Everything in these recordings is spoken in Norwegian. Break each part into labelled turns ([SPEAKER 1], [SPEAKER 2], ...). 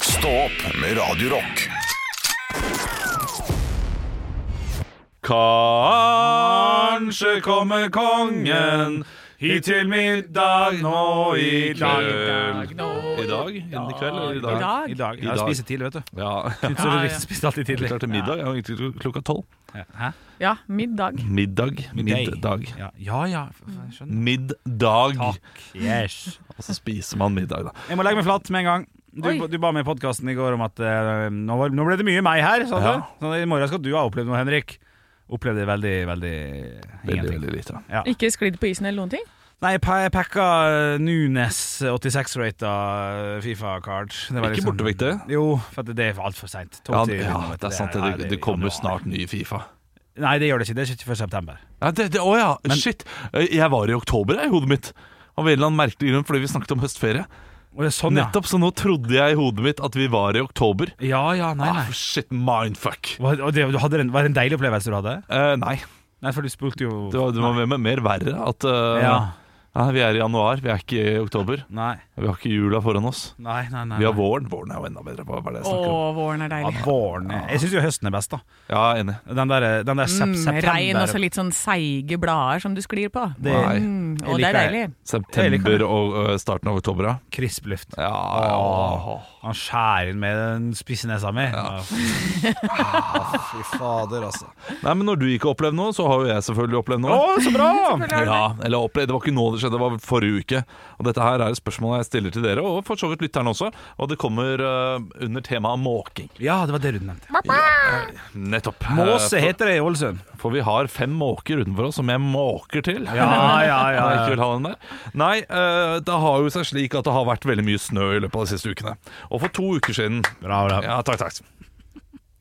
[SPEAKER 1] Stå opp med Radio Rock.
[SPEAKER 2] Kanskje kommer kongen hit til middag nå i kveld. I dag? I kveld eller i dag?
[SPEAKER 3] I dag.
[SPEAKER 2] I
[SPEAKER 3] Jeg
[SPEAKER 2] dag.
[SPEAKER 3] spiser tidlig, vet du.
[SPEAKER 2] Ja.
[SPEAKER 3] Så
[SPEAKER 4] Ja,
[SPEAKER 3] du
[SPEAKER 4] ja.
[SPEAKER 3] spiste alltid tidlig.
[SPEAKER 2] Klart til middag. Jeg gikk til klokka tolv.
[SPEAKER 4] Ja, middag.
[SPEAKER 2] Middag. Middag.
[SPEAKER 3] Ja, ja. ja. f- f- Jeg skjønner.
[SPEAKER 2] Middag.
[SPEAKER 3] Yes.
[SPEAKER 2] Og så spiser man middag, da.
[SPEAKER 3] Jeg må legge meg flatt med en gang. Du,
[SPEAKER 4] Oi.
[SPEAKER 3] du ba meg i podkasten i går om at eh, nå, var, nå ble det mye meg her. Sånn,
[SPEAKER 2] Ja.
[SPEAKER 3] sånn, I morgen skal du ha opplevd noe, Henrik. Opplevde veldig, veldig
[SPEAKER 2] Veldig,
[SPEAKER 3] ingenting.
[SPEAKER 2] veldig lite.
[SPEAKER 3] Ja.
[SPEAKER 4] Ikke sklidd på isen eller noen ting?
[SPEAKER 3] Nei, jeg pa- jeg packa eh, Nunes 86-rata Fifa-card.
[SPEAKER 2] Ikke bortevekt, det? liksom
[SPEAKER 3] liksom- Jo, for at det er altfor seint.
[SPEAKER 2] Ja, ja, det er sant. Det, det kommer snart ny Fifa.
[SPEAKER 3] Nei, det gjør det ikke. Det er ikke før september.
[SPEAKER 2] Ja, det, det, å ja, shit. Eh, Jeg var i oktober jeg, i hodet mitt. Av en eller annen merkelig grunn, fordi vi snakket om høstferie.
[SPEAKER 3] Og det er sånn,
[SPEAKER 2] Nettopp, så nå trodde jeg i hodet mitt at vi var i oktober.
[SPEAKER 3] ja. Ja, ja, nei, nei.
[SPEAKER 2] Ah, shit, mindfuck.
[SPEAKER 3] Hva- Og det, du hadde en, var det en deilig opplevelse du hadde?
[SPEAKER 2] Eh, nei,
[SPEAKER 3] Nei, for du spurte jo
[SPEAKER 2] det var, det var mer, mer verre at eh,
[SPEAKER 3] ja.
[SPEAKER 2] nei, vi er i januar, vi er ikke i oktober.
[SPEAKER 3] Nei,
[SPEAKER 2] Vi har ikke jula foran oss.
[SPEAKER 3] nei, nei. nei.
[SPEAKER 2] Vi har våren. Våren er jo enda bedre. Hva er det jeg
[SPEAKER 4] Å,
[SPEAKER 2] snakker om?
[SPEAKER 4] våren er
[SPEAKER 3] Ja,
[SPEAKER 4] deilig.
[SPEAKER 3] våren er- Jeg syns jo høsten er best, da.
[SPEAKER 2] Ja, enig.
[SPEAKER 3] Den der, eh, den der sep
[SPEAKER 4] Mm,
[SPEAKER 3] september
[SPEAKER 4] regn og så litt sånn seige blader som du sklir på.
[SPEAKER 3] Det-
[SPEAKER 2] Nei.
[SPEAKER 4] Mm, og
[SPEAKER 3] Jeg
[SPEAKER 4] det er
[SPEAKER 3] liker
[SPEAKER 4] deilig.
[SPEAKER 3] Det
[SPEAKER 2] September og eh, starten av oktober, ja.
[SPEAKER 3] Krisp luft.
[SPEAKER 2] Ja, ja.
[SPEAKER 3] Han skjærer inn med den spisse nesa mi. Ja.
[SPEAKER 2] Ah,
[SPEAKER 5] Fy fader, altså.
[SPEAKER 2] Nei, men når du ikke har opplevd noe, så har jo jeg selvfølgelig opplevd noe.
[SPEAKER 3] Å, så bra!
[SPEAKER 2] Ja, eller opplevd, Det var ikke nå det skjedde, det var forrige uke. Og Dette her er et spørsmål jeg stiller til dere, og for så vidt lytterne også. Og det kommer eh, under temaet måking.
[SPEAKER 3] Ja, det var det du nevnte.
[SPEAKER 2] Nettopp.
[SPEAKER 3] Måse
[SPEAKER 2] Eh,
[SPEAKER 3] heter det i Ålesund.
[SPEAKER 2] for, for vi har fem måker utenfor oss som jeg måker til.
[SPEAKER 3] Ja, ja, ja,
[SPEAKER 2] Jeg
[SPEAKER 3] ja.
[SPEAKER 2] ikke vil ha den der. Nei, eh, det har jo seg slik at det har vært veldig mye snø i løpet av de siste ukene. Og for to uker siden
[SPEAKER 3] Bra, bra.
[SPEAKER 2] Ja, takk, takk.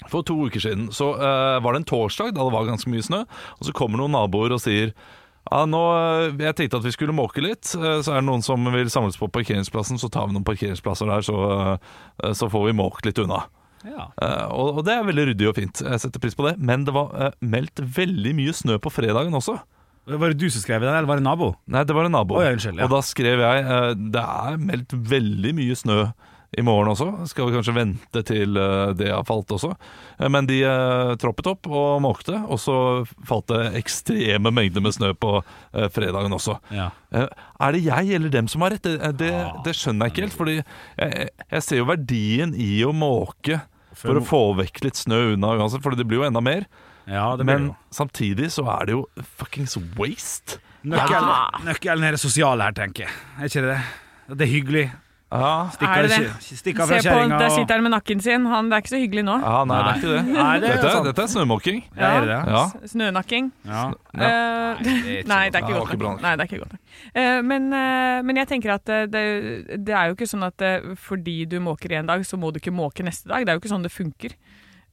[SPEAKER 2] For to uker siden så eh, var det en torsdag da det var ganske mye snø, og så kommer noen naboer og sier ja, nå, eh, Jeg tenkte at vi skulle måke litt, eh, så er det noen som vil samles på parkeringsplassen, så tar vi noen parkeringsplasser der, så, eh, så får vi måkt litt unna.
[SPEAKER 3] Ja.
[SPEAKER 2] Eh, og, og det er veldig ryddig og fint, jeg setter pris på det, men det var eh, meldt veldig mye snø på fredagen også.
[SPEAKER 3] Var det du som skrev den, eller var det nabo?
[SPEAKER 2] Nei, det var en nabo.
[SPEAKER 3] Oi, unnskyld, ja.
[SPEAKER 2] Og da skrev jeg eh, Det er meldt veldig mye snø i morgen også. Skal vi kanskje vente til eh, det har falt også? Eh, Men de eh, troppet opp og måkte, og så falt det ekstreme mengder med snø på eh, fredagen også.
[SPEAKER 3] Ja.
[SPEAKER 2] Eh, Er det jeg eller dem som har rett? Det, eh, det,
[SPEAKER 3] Ah.
[SPEAKER 2] det skjønner jeg ikke helt. Fordi jeg, jeg ser jo verdien i å måke for å få vekk litt snø unna uansett, for det blir jo enda mer.
[SPEAKER 3] Ja, det blir
[SPEAKER 2] Men
[SPEAKER 3] jo.
[SPEAKER 2] samtidig så er det jo fuckings waste.
[SPEAKER 3] Nøkkelen,
[SPEAKER 4] Ja.
[SPEAKER 3] nøkkelen er det sosiale her, tenker jeg. Er ikke det det? Det er hyggelig.
[SPEAKER 2] Ja,
[SPEAKER 3] Stikker,
[SPEAKER 4] Er det
[SPEAKER 3] det? stikker
[SPEAKER 4] Se
[SPEAKER 3] fra
[SPEAKER 4] på,
[SPEAKER 3] kjerringa
[SPEAKER 4] der
[SPEAKER 3] og
[SPEAKER 4] sitter han med nakken sin. Han, det er ikke så hyggelig nå.
[SPEAKER 2] Ja, nei, det er ikke det.
[SPEAKER 3] Nei, det er
[SPEAKER 2] dette,
[SPEAKER 3] sant.
[SPEAKER 2] dette er snømåking.
[SPEAKER 3] Ja, er det det?
[SPEAKER 2] Ja.
[SPEAKER 4] S- Snønakking.
[SPEAKER 3] Ja.
[SPEAKER 2] Ja.
[SPEAKER 4] Eh, Nei, det er ikke
[SPEAKER 2] Nei, det var
[SPEAKER 4] godt
[SPEAKER 2] ikke bra
[SPEAKER 4] nok.
[SPEAKER 2] nok.
[SPEAKER 4] Nei, det er ikke godt nok. Eh, men, eh, men jeg tenker at eh, det, det er jo ikke sånn at eh, fordi du måker en dag, så må du ikke måke neste dag. Det er jo ikke sånn det funker.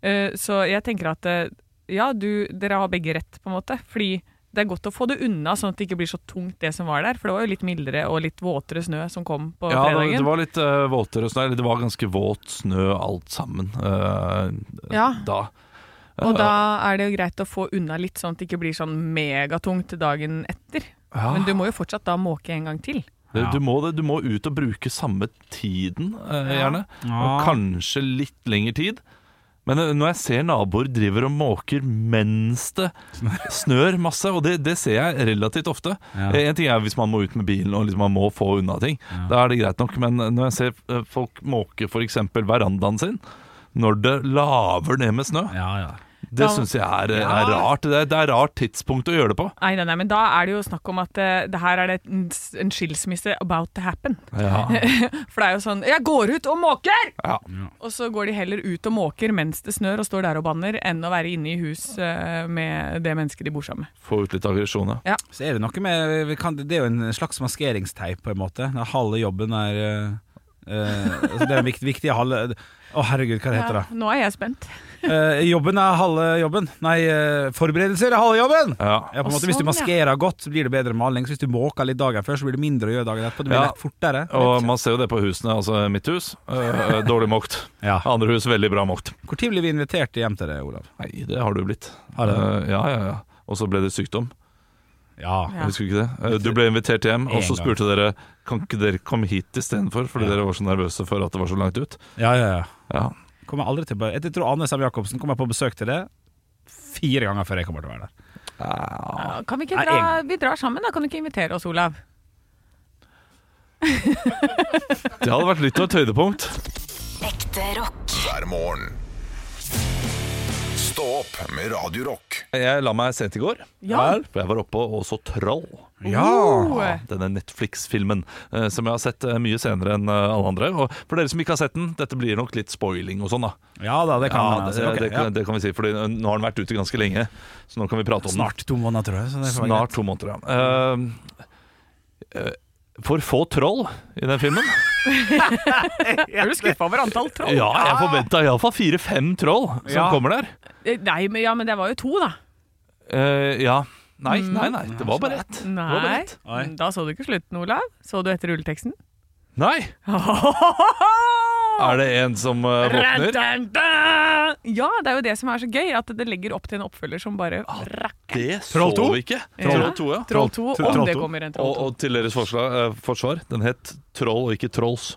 [SPEAKER 4] Eh, så jeg tenker at eh, ja, du, dere har begge rett, på en måte. Fordi det er godt å få det unna, sånn at det ikke blir så tungt det som var der. For det var jo litt mildere og litt våtere snø som kom på
[SPEAKER 2] Ja, det, det
[SPEAKER 4] fredagen.
[SPEAKER 2] var litt eh, våtere snø. Eller det var ganske våt snø alt sammen eh,
[SPEAKER 4] Ja,
[SPEAKER 2] da.
[SPEAKER 4] og da er det jo greit å få unna litt, sånn at det ikke blir sånn megatungt dagen etter.
[SPEAKER 2] Eh, Ja,
[SPEAKER 4] Men du må jo fortsatt da måke en gang til.
[SPEAKER 2] det, du, må det, du må ut og bruke samme tiden, eh,
[SPEAKER 4] Ja.
[SPEAKER 2] gjerne.
[SPEAKER 3] Ja.
[SPEAKER 2] Og kanskje litt lengre tid. Men eh, når jeg ser naboer driver og måker mens det snør masse, og det, det ser jeg relativt ofte
[SPEAKER 3] Ja.
[SPEAKER 2] Eh, En ting er hvis man må ut med bilen og liksom man må få unna ting. Da er det greit nok. Men når jeg ser eh, folk måke f.eks. verandaen sin når det laver ned med snø,
[SPEAKER 3] Ja, ja.
[SPEAKER 2] det
[SPEAKER 4] Da-
[SPEAKER 2] syns jeg er, eh, er rart. Det er, det er rart tidspunkt å gjøre det på.
[SPEAKER 4] Nei, nei, nei, men da er det jo snakk om at eh, det her er det en, s- en skilsmisse about to happen. For det er jo sånn 'jeg går ut og måker!'
[SPEAKER 2] Ja.
[SPEAKER 4] Og så går de heller ut og måker mens det snør og står der og banner, enn å være inne i hus eh, med det mennesket de bor sammen med.
[SPEAKER 2] Få ut litt aggresjon, ja.
[SPEAKER 3] Så er det noe med vi kan, Det er jo en slags maskeringsteip, på en måte. Den halve jobben er eh, eh, altså Det er den viktige, viktige halve Å, herregud, hva det heter det?
[SPEAKER 4] Ja, nå er jeg spent.
[SPEAKER 3] Eh, jobben er halve jobben. Nei, eh, forberedelser er halve jobben!
[SPEAKER 2] ja.
[SPEAKER 3] Ja, på en
[SPEAKER 4] Å,
[SPEAKER 3] måte, hvis du
[SPEAKER 4] sånn,
[SPEAKER 3] maskerer godt, så blir det bedre maling. Så hvis du måker litt dagen før, så blir det mindre å gjøre dagen etterpå. Det blir
[SPEAKER 2] Ja.
[SPEAKER 3] lett fortere.
[SPEAKER 2] Og man ser jo det på husene. Altså mitt hus, øh, øh, dårlig måkt.
[SPEAKER 3] Ja.
[SPEAKER 2] Andre hus, veldig bra måkt.
[SPEAKER 3] Hvor tid blir vi invitert hjem til deg, Olav?
[SPEAKER 2] Nei, det har du blitt. Eh,
[SPEAKER 3] Har det?
[SPEAKER 2] Øh, ja, ja, ja. Og så ble det sykdom.
[SPEAKER 3] Ja.
[SPEAKER 4] Ja.
[SPEAKER 2] Husker du ikke det? Eh, Du ble invitert hjem, og
[SPEAKER 3] En
[SPEAKER 2] så
[SPEAKER 3] gang.
[SPEAKER 2] spurte dere Kan ikke dere komme hit istedenfor, fordi
[SPEAKER 3] Ja.
[SPEAKER 2] dere var så nervøse for at det var så langt ut.
[SPEAKER 3] ja, ja, ja.
[SPEAKER 2] Ja,
[SPEAKER 3] Kommer aldri til å- Jeg tror Anne Sem Jacobsen kommer på besøk til det fire ganger før jeg kommer til å være der.
[SPEAKER 4] Ja, Kan vi ikke
[SPEAKER 3] Nei,
[SPEAKER 4] dra Vi drar sammen, da. Kan du ikke invitere oss, Olav?
[SPEAKER 2] Det hadde vært litt av et høydepunkt.
[SPEAKER 6] Ekte rock.
[SPEAKER 1] hver morgen. Stå opp med Radio Rock.
[SPEAKER 2] Jeg la meg sent i går,
[SPEAKER 4] Ja.
[SPEAKER 2] Vel, for jeg var oppe og så Troll.
[SPEAKER 4] Oh.
[SPEAKER 2] Denne Netflix-filmen eh, som jeg har sett eh, mye senere enn eh, alle andre. Og for dere som ikke har sett den, dette blir nok litt spoiling og sånn, da.
[SPEAKER 3] Ja da, det kan
[SPEAKER 2] Ja,
[SPEAKER 3] man,
[SPEAKER 2] det,
[SPEAKER 3] altså. Ok,
[SPEAKER 2] det,
[SPEAKER 3] ja.
[SPEAKER 2] det kan vi si, for nå har den vært ute ganske lenge. Så nå kan vi prate om den.
[SPEAKER 3] Snart to måneder, tror jeg. Så det får være
[SPEAKER 2] Snart to måneder, ja. Eh, eh, for få troll i den filmen.
[SPEAKER 4] Er du skuffa over antall troll?
[SPEAKER 2] Ja, jeg forventa iallfall fire-fem troll som
[SPEAKER 3] Ja.
[SPEAKER 2] kommer der.
[SPEAKER 4] Eh, Nei, men, ja, men det var jo to, da.
[SPEAKER 2] Eh, ja. Nei, nei, nei. Det var bare ett. Det var bare
[SPEAKER 4] Nei.
[SPEAKER 2] ett.
[SPEAKER 3] Oi.
[SPEAKER 4] Da så du ikke slutten, Olav. Så du etter rulleteksten?
[SPEAKER 2] Nei! Er det en som eh, våkner?
[SPEAKER 4] Ja, det er jo det som er så gøy, at det legger opp til en oppfølger som bare
[SPEAKER 2] Det
[SPEAKER 3] Troll
[SPEAKER 2] så
[SPEAKER 3] to?
[SPEAKER 2] vi ikke.
[SPEAKER 4] Ja.
[SPEAKER 2] Troll 2, ja.
[SPEAKER 4] Troll 2,
[SPEAKER 3] Troll
[SPEAKER 4] om det
[SPEAKER 3] to.
[SPEAKER 4] kommer
[SPEAKER 2] Og,
[SPEAKER 4] en Troll 2.
[SPEAKER 2] og til deres forslag, eh, forsvar, den het Troll og ikke Trolls.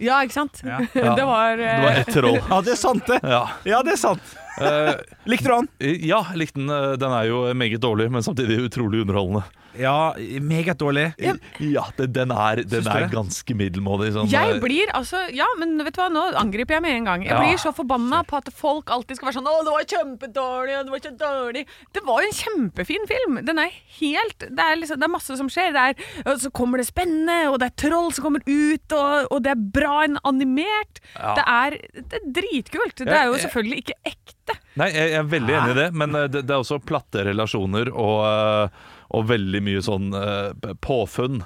[SPEAKER 4] Ja, ikke sant?
[SPEAKER 3] Ja.
[SPEAKER 4] Det var,
[SPEAKER 2] Det
[SPEAKER 4] eh,
[SPEAKER 2] var ett troll.
[SPEAKER 3] greit. Ja, det er sant, det.
[SPEAKER 2] Ja.
[SPEAKER 3] Ja, det er sant.
[SPEAKER 2] Eh,
[SPEAKER 3] Likte du han?
[SPEAKER 2] ja, jeg likte den. Eh, Den er jo meget dårlig, men samtidig utrolig underholdende.
[SPEAKER 3] Ja, meget dårlig.
[SPEAKER 2] Ja, det, den er, den
[SPEAKER 3] Syns du
[SPEAKER 2] er
[SPEAKER 3] det?
[SPEAKER 2] ganske middelmådig. Sånn,
[SPEAKER 4] Jeg
[SPEAKER 2] eh,
[SPEAKER 4] blir altså Ja, men vet du hva, nå angriper jeg med en gang. Jeg
[SPEAKER 2] Ja.
[SPEAKER 4] blir så forbanna på at folk alltid skal være sånn 'Å, det var kjempedårlig, og det var så dårlig'. Det var jo en kjempefin film. Den er helt Det er, liksom, det er masse som skjer. Det er, og så kommer det spennende, og det er troll som kommer ut, og, og det er bra en animert. Det, er, det er dritkult. Det er jo
[SPEAKER 2] Jeg-
[SPEAKER 4] selvfølgelig ikke ekte.
[SPEAKER 2] Nei, jeg, jeg er veldig enig i det, men eh, det, det er også platte relasjoner og, eh, og veldig mye sånn eh, p- påfunn.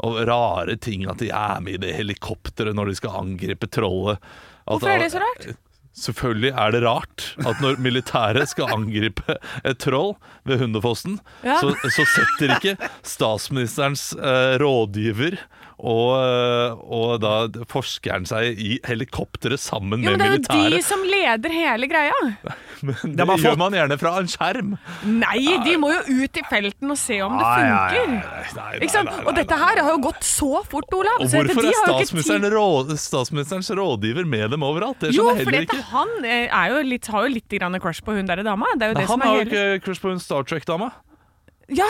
[SPEAKER 2] Og rare ting, at de er med i det helikopteret når de skal angripe trollet. At-
[SPEAKER 4] Hvorfor er det så rart?
[SPEAKER 2] Selvfølgelig er det rart at når militæret skal angripe et troll ved Hundefossen,
[SPEAKER 4] Ja.
[SPEAKER 2] så, så setter ikke statsministerens eh, rådgiver og, eh, og da forskeren seg i helikopteret sammen
[SPEAKER 4] Jo, men
[SPEAKER 2] med
[SPEAKER 4] det er jo de
[SPEAKER 2] militæret.
[SPEAKER 4] som leder hele greia.
[SPEAKER 2] Men
[SPEAKER 3] De
[SPEAKER 2] det
[SPEAKER 3] har fått-
[SPEAKER 2] gjør man gjerne fra en skjerm.
[SPEAKER 4] Nei, de må jo ut i felten og se om det
[SPEAKER 3] Nei, nei, nei,
[SPEAKER 4] funker. Ikke sant? Og dette her har jo gått så fort, Olav.
[SPEAKER 2] Og
[SPEAKER 4] så
[SPEAKER 2] hvorfor er
[SPEAKER 4] de har jo ikke
[SPEAKER 2] statsministeren
[SPEAKER 4] tid-
[SPEAKER 2] rå, statsministerens rådgiver med dem overalt? Det
[SPEAKER 4] Jo,
[SPEAKER 2] skjønner jeg
[SPEAKER 4] for
[SPEAKER 2] heller
[SPEAKER 4] dette,
[SPEAKER 2] ikke.
[SPEAKER 4] han eh, er jo litt, har jo litt grann crush på hun der dama. Det er jo det
[SPEAKER 2] Han
[SPEAKER 4] som er
[SPEAKER 2] har jo
[SPEAKER 4] hele
[SPEAKER 2] ikke crush på hun Star Trek-dama.
[SPEAKER 4] Ja!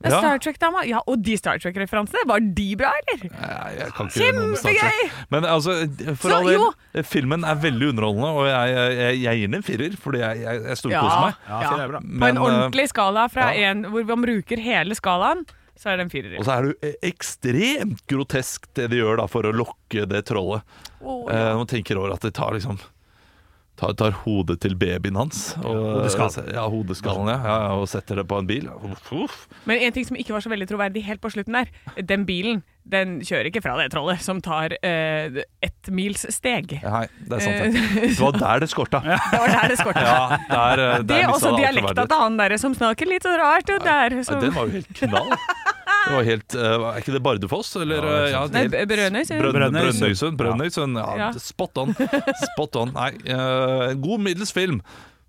[SPEAKER 4] Det er
[SPEAKER 2] Ja.
[SPEAKER 4] Star Trek-dama. Ja, Og de Star Trek-referansene, var de bra, eller?
[SPEAKER 2] Nei, jeg kan ikke noe om Star Trek.
[SPEAKER 4] Kjempegøy!
[SPEAKER 2] Men altså, for
[SPEAKER 4] Så,
[SPEAKER 2] all del,
[SPEAKER 4] jo.
[SPEAKER 2] filmen er veldig underholdende, og jeg, jeg, jeg gir den en firer, fordi jeg, jeg, jeg storkoser meg.
[SPEAKER 3] Ja, så det er bra.
[SPEAKER 4] På
[SPEAKER 2] Men, eh,
[SPEAKER 4] en ordentlig skala fra
[SPEAKER 2] ja.
[SPEAKER 4] en hvor man bruker hele skalaen, så er det en firer.
[SPEAKER 2] eh, Og så er det jo ekstremt grotesk det de gjør da for å lokke det trollet.
[SPEAKER 4] Åh,
[SPEAKER 2] Eh, man tenker over at de tar liksom Tar, tar hodet til babyen hans. Og,
[SPEAKER 3] hodeskallen.
[SPEAKER 2] Ja, hodeskallen, ja, ja, og setter det på en bil. Uff, uff.
[SPEAKER 4] Men en ting som ikke var så veldig troverdig helt på slutten der, den bilen den kjører ikke fra det trollet som tar eh, ett mils steg.
[SPEAKER 2] Nei, det er sant. ja. Det var der det skorta. Ja,
[SPEAKER 4] Det var der det skorta.
[SPEAKER 2] der, eh, der
[SPEAKER 4] Det er
[SPEAKER 2] mistet
[SPEAKER 4] også
[SPEAKER 2] det all
[SPEAKER 4] dialekta
[SPEAKER 2] troverdighet.
[SPEAKER 4] til han der som snakker litt så rart ut der.
[SPEAKER 2] Ja,
[SPEAKER 4] Som,
[SPEAKER 2] den var jo helt knall. Det var helt, eh, er ikke det Bardufoss? Eller,
[SPEAKER 3] Ja, det er
[SPEAKER 2] eh, ja,
[SPEAKER 3] sant.
[SPEAKER 4] Nei,
[SPEAKER 2] helt-
[SPEAKER 4] Br- Brønnøysund.
[SPEAKER 2] Brønn-
[SPEAKER 3] Brønnøysund.
[SPEAKER 2] Brønnøysund. Brønnøysund, ja.
[SPEAKER 4] Ja.
[SPEAKER 2] Spot on. Spot on. Nei, eh, en god middels film.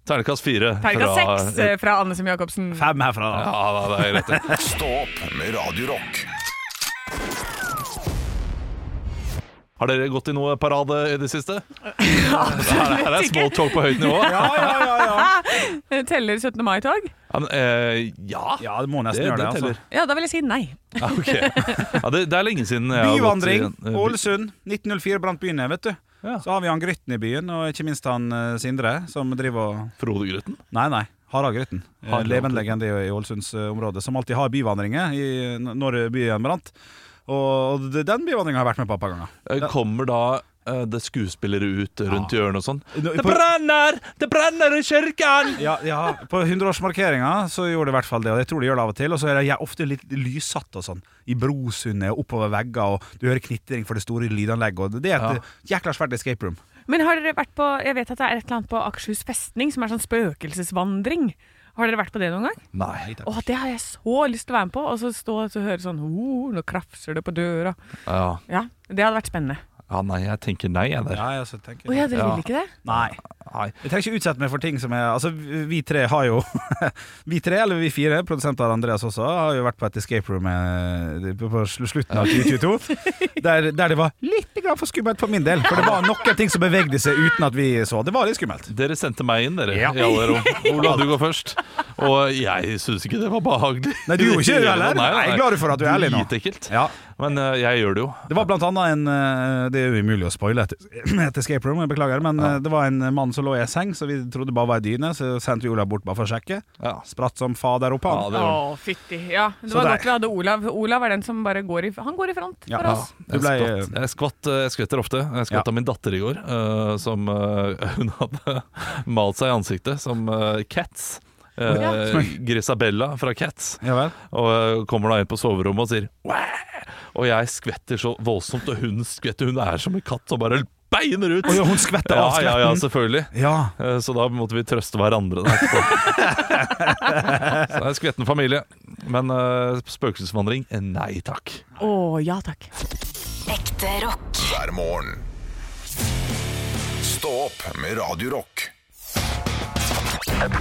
[SPEAKER 2] Ternekast fire.
[SPEAKER 4] Terningkast
[SPEAKER 2] fra-
[SPEAKER 4] seks eh, fra Anne Sem Jacobsen.
[SPEAKER 3] Fem herfra, da.
[SPEAKER 2] Ja, da, det er rett. det.
[SPEAKER 1] Stå opp med Radio Rock
[SPEAKER 2] Har dere gått i noe parade i det siste? Her, her er small talk på høyt nivå. Ja,
[SPEAKER 4] Eh, Teller 17. mai-tog?
[SPEAKER 2] men, eh, ja.
[SPEAKER 3] Ja, det må nesten
[SPEAKER 2] Det-
[SPEAKER 3] gjøre det.
[SPEAKER 2] det teller.
[SPEAKER 3] altså.
[SPEAKER 4] Ja, da vil jeg si nei.
[SPEAKER 2] Ja, ok. ja det, det er lenge siden jeg har gått i eh,
[SPEAKER 3] Byvandring.
[SPEAKER 2] en-
[SPEAKER 3] Ålesund. 1904 blant byene, vet du.
[SPEAKER 2] Ja.
[SPEAKER 3] Så har vi han Grytten i byen, og ikke minst han eh, Sindre, som driver og
[SPEAKER 2] Frode Grytten.
[SPEAKER 3] Nei, nei. Harald Grytten. Eh,
[SPEAKER 2] Harald
[SPEAKER 3] Levende
[SPEAKER 2] Grytten.
[SPEAKER 3] legende i i Ålesundsområdet, som alltid har byvandringer i, når byen brant. Og det- den byvandringa har jeg vært med på et par ganger.
[SPEAKER 2] Eh, Kommer da eh, det skuespillere ut rundt hjørnet og sånn?
[SPEAKER 3] Nå,
[SPEAKER 2] Det
[SPEAKER 3] på-
[SPEAKER 2] brenner! Det brenner i kirken!
[SPEAKER 3] Ja, ja, på 100-årsmarkeringa så gjorde det i hvert fall det, og jeg tror det gjør det av og til. Og så er det- jeg er ofte litt lyssatt og sånn, i brosundet og oppover vegger, og du hører knitring for det store lydanlegget, og det er et jækla svært escape room.
[SPEAKER 4] Men har dere vært på Jeg vet at det er et eller annet på Akershus festning som er sånn spøkelsesvandring. Har dere vært på det noen gang?
[SPEAKER 2] Nei.
[SPEAKER 4] Å, det har jeg så lyst til å være med på! Og så stå og så høre sånn oh, Nå krafser det på døra.
[SPEAKER 2] Ja.
[SPEAKER 4] Ja, Det hadde vært spennende.
[SPEAKER 2] ja, nei, jeg tenker nei, jeg der.
[SPEAKER 3] Ja, ja, så tenker
[SPEAKER 4] Å
[SPEAKER 3] jeg
[SPEAKER 4] ja, dere
[SPEAKER 2] Ja.
[SPEAKER 4] vil ikke det?
[SPEAKER 3] Nei.
[SPEAKER 2] Nei.
[SPEAKER 3] Jeg trenger ikke utsette meg for ting som er Altså, vi vi tre har jo Vi tre, eller vi fire, produsenter Andreas også, har jo vært på et escape room eh, på sl- slutten av 2022. Der, der det var litt grann for skummelt for min del. For det var noen ting som bevegde seg uten at vi så. Det var litt skummelt.
[SPEAKER 2] Dere sendte meg inn, dere.
[SPEAKER 3] Ja.
[SPEAKER 2] I alle rom. Ola, du går først. Og jeg syns ikke det var behagelig.
[SPEAKER 3] Nei, du gjorde ikke det, eller? Jeg er glad for at du er ærlig nå.
[SPEAKER 2] Dritekkelt.
[SPEAKER 3] Ja.
[SPEAKER 2] Men eh, jeg gjør det jo.
[SPEAKER 3] Det var blant annet en eh, Det er jo umulig å spoile et, et escape room, jeg beklager, men eh, det var en mann som lå i ei seng, så vi trodde bare var ei dyne, så sendte vi Olav bort bare for å sjekke.
[SPEAKER 2] Ja.
[SPEAKER 3] Spratt som fader opp han.
[SPEAKER 2] Ja, det
[SPEAKER 4] Å,
[SPEAKER 2] var-
[SPEAKER 4] fytti. Ja, det
[SPEAKER 3] Så
[SPEAKER 4] var
[SPEAKER 3] der.
[SPEAKER 4] godt vi hadde Olav. Olav er den som bare går i Han går i front
[SPEAKER 3] Ja.
[SPEAKER 4] for oss.
[SPEAKER 3] Du ble
[SPEAKER 2] jeg, skvatt. jeg, skvatt, eh, jeg skvetter ofte. Jeg skvatt
[SPEAKER 3] Ja.
[SPEAKER 2] av min datter i går, eh, som eh, hun hadde malt seg i ansiktet som eh, Cats. Eh, Grisabella fra Cats.
[SPEAKER 3] Ja vel?
[SPEAKER 2] Og eh, kommer da inn på soverommet og sier «Wæ!» Og jeg skvetter så voldsomt, og hun skvetter. Hun er som en katt som bare beiner ut.
[SPEAKER 3] Å ja, altså. hun skvetter
[SPEAKER 2] ja,
[SPEAKER 3] av
[SPEAKER 2] ja, ja,
[SPEAKER 3] skvetten.
[SPEAKER 2] selvfølgelig.
[SPEAKER 3] Ja.
[SPEAKER 2] Eh, Så da måtte vi trøste hverandre. da etterpå. så det er skvetten familie. Men eh, spøkelsesvandring? eh, Nei takk.
[SPEAKER 4] Å, ja takk.
[SPEAKER 6] Ekte rock.
[SPEAKER 1] hver morgen. Stå opp med Radio Rock.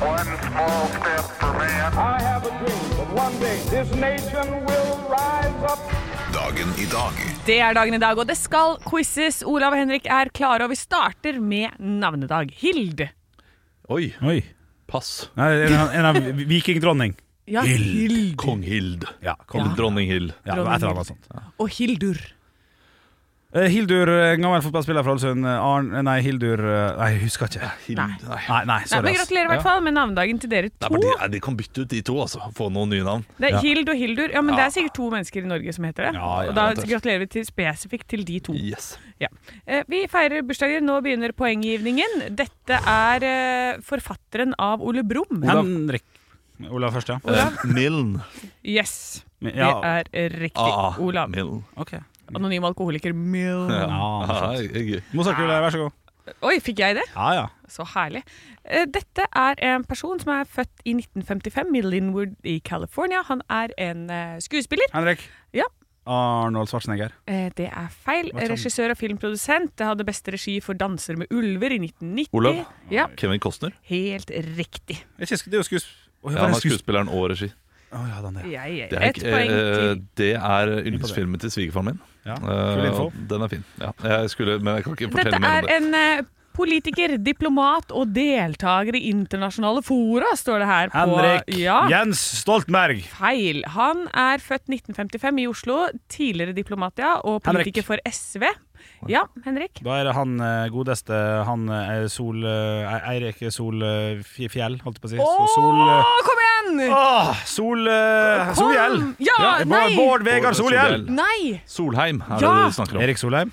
[SPEAKER 7] One small step for man.
[SPEAKER 8] I have a dream that one day this nation will rise up.
[SPEAKER 1] Dagen i dag
[SPEAKER 4] Det er dagen i dag, og det skal quizes. Olav og Henrik er klare, og vi starter med navnedag. Hild.
[SPEAKER 2] Oi,
[SPEAKER 3] Oi.
[SPEAKER 2] pass.
[SPEAKER 3] Nei, en, av- en av vikingdronning.
[SPEAKER 4] Ja, Hild.
[SPEAKER 2] Kong Hild.
[SPEAKER 3] Ja,
[SPEAKER 2] Kong Dronning Hild.
[SPEAKER 3] Ja, det var et eller annet sånt.
[SPEAKER 4] Og Hildur.
[SPEAKER 3] Eh, Hildur, eh, gammel fotballspiller fra Ålesund. eh, Arn, eh, nei, Hildur eh, Nei, jeg husker ikke.
[SPEAKER 4] Nei.
[SPEAKER 3] Nei, nei,
[SPEAKER 4] Nei,
[SPEAKER 3] sorry.
[SPEAKER 4] men
[SPEAKER 3] ass.
[SPEAKER 4] gratulerer i hvert fall med navnedagen til dere
[SPEAKER 2] Nei,
[SPEAKER 4] to.
[SPEAKER 2] men de, nei, de kan bytte ut de to, altså. Få noen nye navn.
[SPEAKER 4] Det er Hild og Hildur. Ja, men Det er sikkert to mennesker i Norge som heter det.
[SPEAKER 3] Ja, ja,
[SPEAKER 4] og da
[SPEAKER 3] det er-
[SPEAKER 4] gratulerer vi til, spesifikt til de to.
[SPEAKER 2] Yes.
[SPEAKER 4] Ja. Eh, Vi feirer bursdager. Nå begynner poenggivningen. Dette er eh, forfatteren av Ole Brumm.
[SPEAKER 3] Henrik. Olav først, ja.
[SPEAKER 2] Eh, Milne.
[SPEAKER 4] Yes, det
[SPEAKER 3] ja.
[SPEAKER 4] er riktig.
[SPEAKER 2] Ah,
[SPEAKER 4] Olav.
[SPEAKER 2] Milne.
[SPEAKER 3] Ok.
[SPEAKER 4] Anonym alkoholiker. Mill.
[SPEAKER 3] Ja,
[SPEAKER 2] Ah, jeg- jeg-
[SPEAKER 3] Mozartkule, vær så god.
[SPEAKER 4] Oi, fikk jeg det?
[SPEAKER 3] Ja, ja.
[SPEAKER 4] Så herlig. Eh, Dette er en person som er født i 1955 i Linwood i California. Han er en eh, skuespiller.
[SPEAKER 3] Henrik.
[SPEAKER 4] Ja.
[SPEAKER 3] Arnold Schwarzenegger.
[SPEAKER 4] Eh, Det er feil.
[SPEAKER 3] Hva sa du?
[SPEAKER 4] Regissør og filmprodusent. Det hadde beste regi for 'Danser med ulver' i 1990.
[SPEAKER 2] Olav?
[SPEAKER 4] Ja,
[SPEAKER 2] Kevin Costner.
[SPEAKER 4] helt riktig.
[SPEAKER 3] Jeg synes- Det er jo skues... Å,
[SPEAKER 2] Ja,
[SPEAKER 3] var
[SPEAKER 2] han
[SPEAKER 3] det
[SPEAKER 2] er
[SPEAKER 3] skues-
[SPEAKER 2] skuespilleren og regi.
[SPEAKER 3] Å, ja, den er.
[SPEAKER 4] Ja, ja.
[SPEAKER 2] Det er,
[SPEAKER 4] Ett
[SPEAKER 2] ikke-
[SPEAKER 4] poeng
[SPEAKER 2] eh,
[SPEAKER 4] til.
[SPEAKER 2] det er yndlingsfilmen til svigerfaren min.
[SPEAKER 3] Ja. Kul
[SPEAKER 2] Eh,
[SPEAKER 3] info.
[SPEAKER 2] og den er fin. Ja, jeg skulle, men jeg kan ikke fortelle
[SPEAKER 4] Dette
[SPEAKER 2] mer
[SPEAKER 4] er
[SPEAKER 2] om det.
[SPEAKER 4] en eh, politiker, diplomat og deltaker i internasjonale fora, står det her. På,
[SPEAKER 3] Henrik.
[SPEAKER 4] Ja,
[SPEAKER 3] Jens Stoltenberg.
[SPEAKER 4] feil. Han er født 1955 i Oslo. Tidligere diplomat, ja. Og
[SPEAKER 3] Henrik.
[SPEAKER 4] politiker for SV. Ja, Henrik.
[SPEAKER 3] Da er det han eh, godeste Han eh, Sol eh, Eirik Sol eh, Fj- Fjell, holdt jeg på å si.
[SPEAKER 4] Å,
[SPEAKER 3] Så Sol eh,
[SPEAKER 4] kom igjen!
[SPEAKER 3] Åh, Sol eh,
[SPEAKER 4] Kom!
[SPEAKER 3] Solhjell!
[SPEAKER 4] Ja,
[SPEAKER 3] Bård-
[SPEAKER 4] nei!
[SPEAKER 3] Bård Vegar Solhjell!
[SPEAKER 4] Nei!
[SPEAKER 2] Solheim er
[SPEAKER 4] Ja!
[SPEAKER 2] det du snakker om.
[SPEAKER 3] Erik Solheim.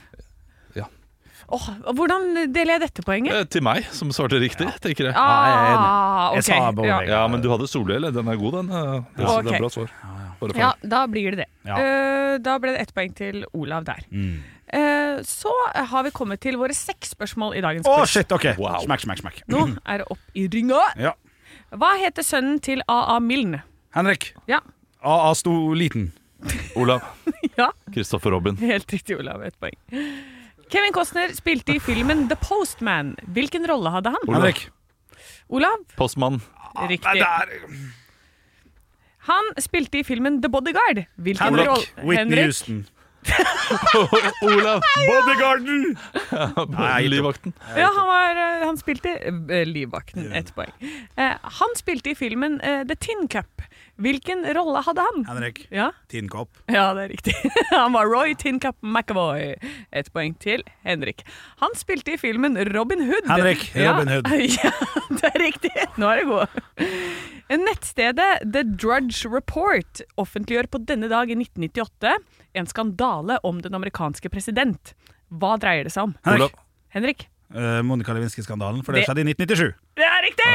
[SPEAKER 4] Åh, hvordan deler jeg dette poenget?
[SPEAKER 2] Eh, til meg, som svarte riktig, tenker jeg.
[SPEAKER 4] Ah,
[SPEAKER 3] Jeg sa
[SPEAKER 4] ok.
[SPEAKER 3] Bård
[SPEAKER 4] Ja.
[SPEAKER 3] Vegar.
[SPEAKER 2] Ja, men du hadde Solhjell. Den er god, den. eh, Det,
[SPEAKER 4] Ja.
[SPEAKER 2] det
[SPEAKER 4] Ok.
[SPEAKER 2] er bra svar. Bare for-
[SPEAKER 4] Ja, da blir det det.
[SPEAKER 3] Ja. Mm.
[SPEAKER 4] Eh, da ble det ett poeng til Olav der. Eh, så har vi kommet til våre seks spørsmål i dagens
[SPEAKER 3] Å,
[SPEAKER 4] quiz.
[SPEAKER 3] shit, OK.
[SPEAKER 2] Wow.
[SPEAKER 3] Smekk, smekk, smekk.
[SPEAKER 4] Nå er det opp i ringa.
[SPEAKER 3] Ja.
[SPEAKER 4] Hva heter sønnen til AA Milne?
[SPEAKER 3] Henrik.
[SPEAKER 4] Ja,
[SPEAKER 3] AA Stoliten.
[SPEAKER 2] Olav.
[SPEAKER 4] ja
[SPEAKER 2] Kristoffer Robin.
[SPEAKER 4] helt riktig, Olav. Ett poeng. Kevin Costner spilte i filmen The Postman. Hvilken rolle hadde han?
[SPEAKER 2] Olav.
[SPEAKER 3] Henrik.
[SPEAKER 4] Olav?
[SPEAKER 2] Postmann.
[SPEAKER 3] Ah,
[SPEAKER 4] Riktig. Han spilte i filmen The Bodyguard. Hvilken rolle
[SPEAKER 3] Henrik. Whitney
[SPEAKER 4] Henrik?
[SPEAKER 3] Houston.
[SPEAKER 2] Olav.
[SPEAKER 3] Bodygarden!
[SPEAKER 2] Nei, Livvakten.
[SPEAKER 4] Ja, han, var, eh, han spilte eh, livvakten. Ett poeng. Eh, han spilte i filmen eh, The Tin Cup. Hvilken rolle hadde han?
[SPEAKER 3] Henrik.
[SPEAKER 4] Ja,
[SPEAKER 3] Tinnkopp.
[SPEAKER 4] ja det er riktig. Han var Roy Tin Cup McAvoy. Ett poeng til Henrik. Han spilte i filmen Robin Hood.
[SPEAKER 3] Henrik,
[SPEAKER 4] Ja,
[SPEAKER 3] Robin Hood.
[SPEAKER 4] Ja, det er riktig. Nå er det god. Nettstedet The Drudge Report offentliggjør på denne dag i 1998 en skandale om den amerikanske president. Hva dreier det seg om?
[SPEAKER 3] Henrik.
[SPEAKER 2] Olav.
[SPEAKER 4] Henrik?
[SPEAKER 3] Eh, Monica Lewinsky-skandalen, for det
[SPEAKER 4] Det-
[SPEAKER 3] skjedde i 1997.
[SPEAKER 4] Det er riktig!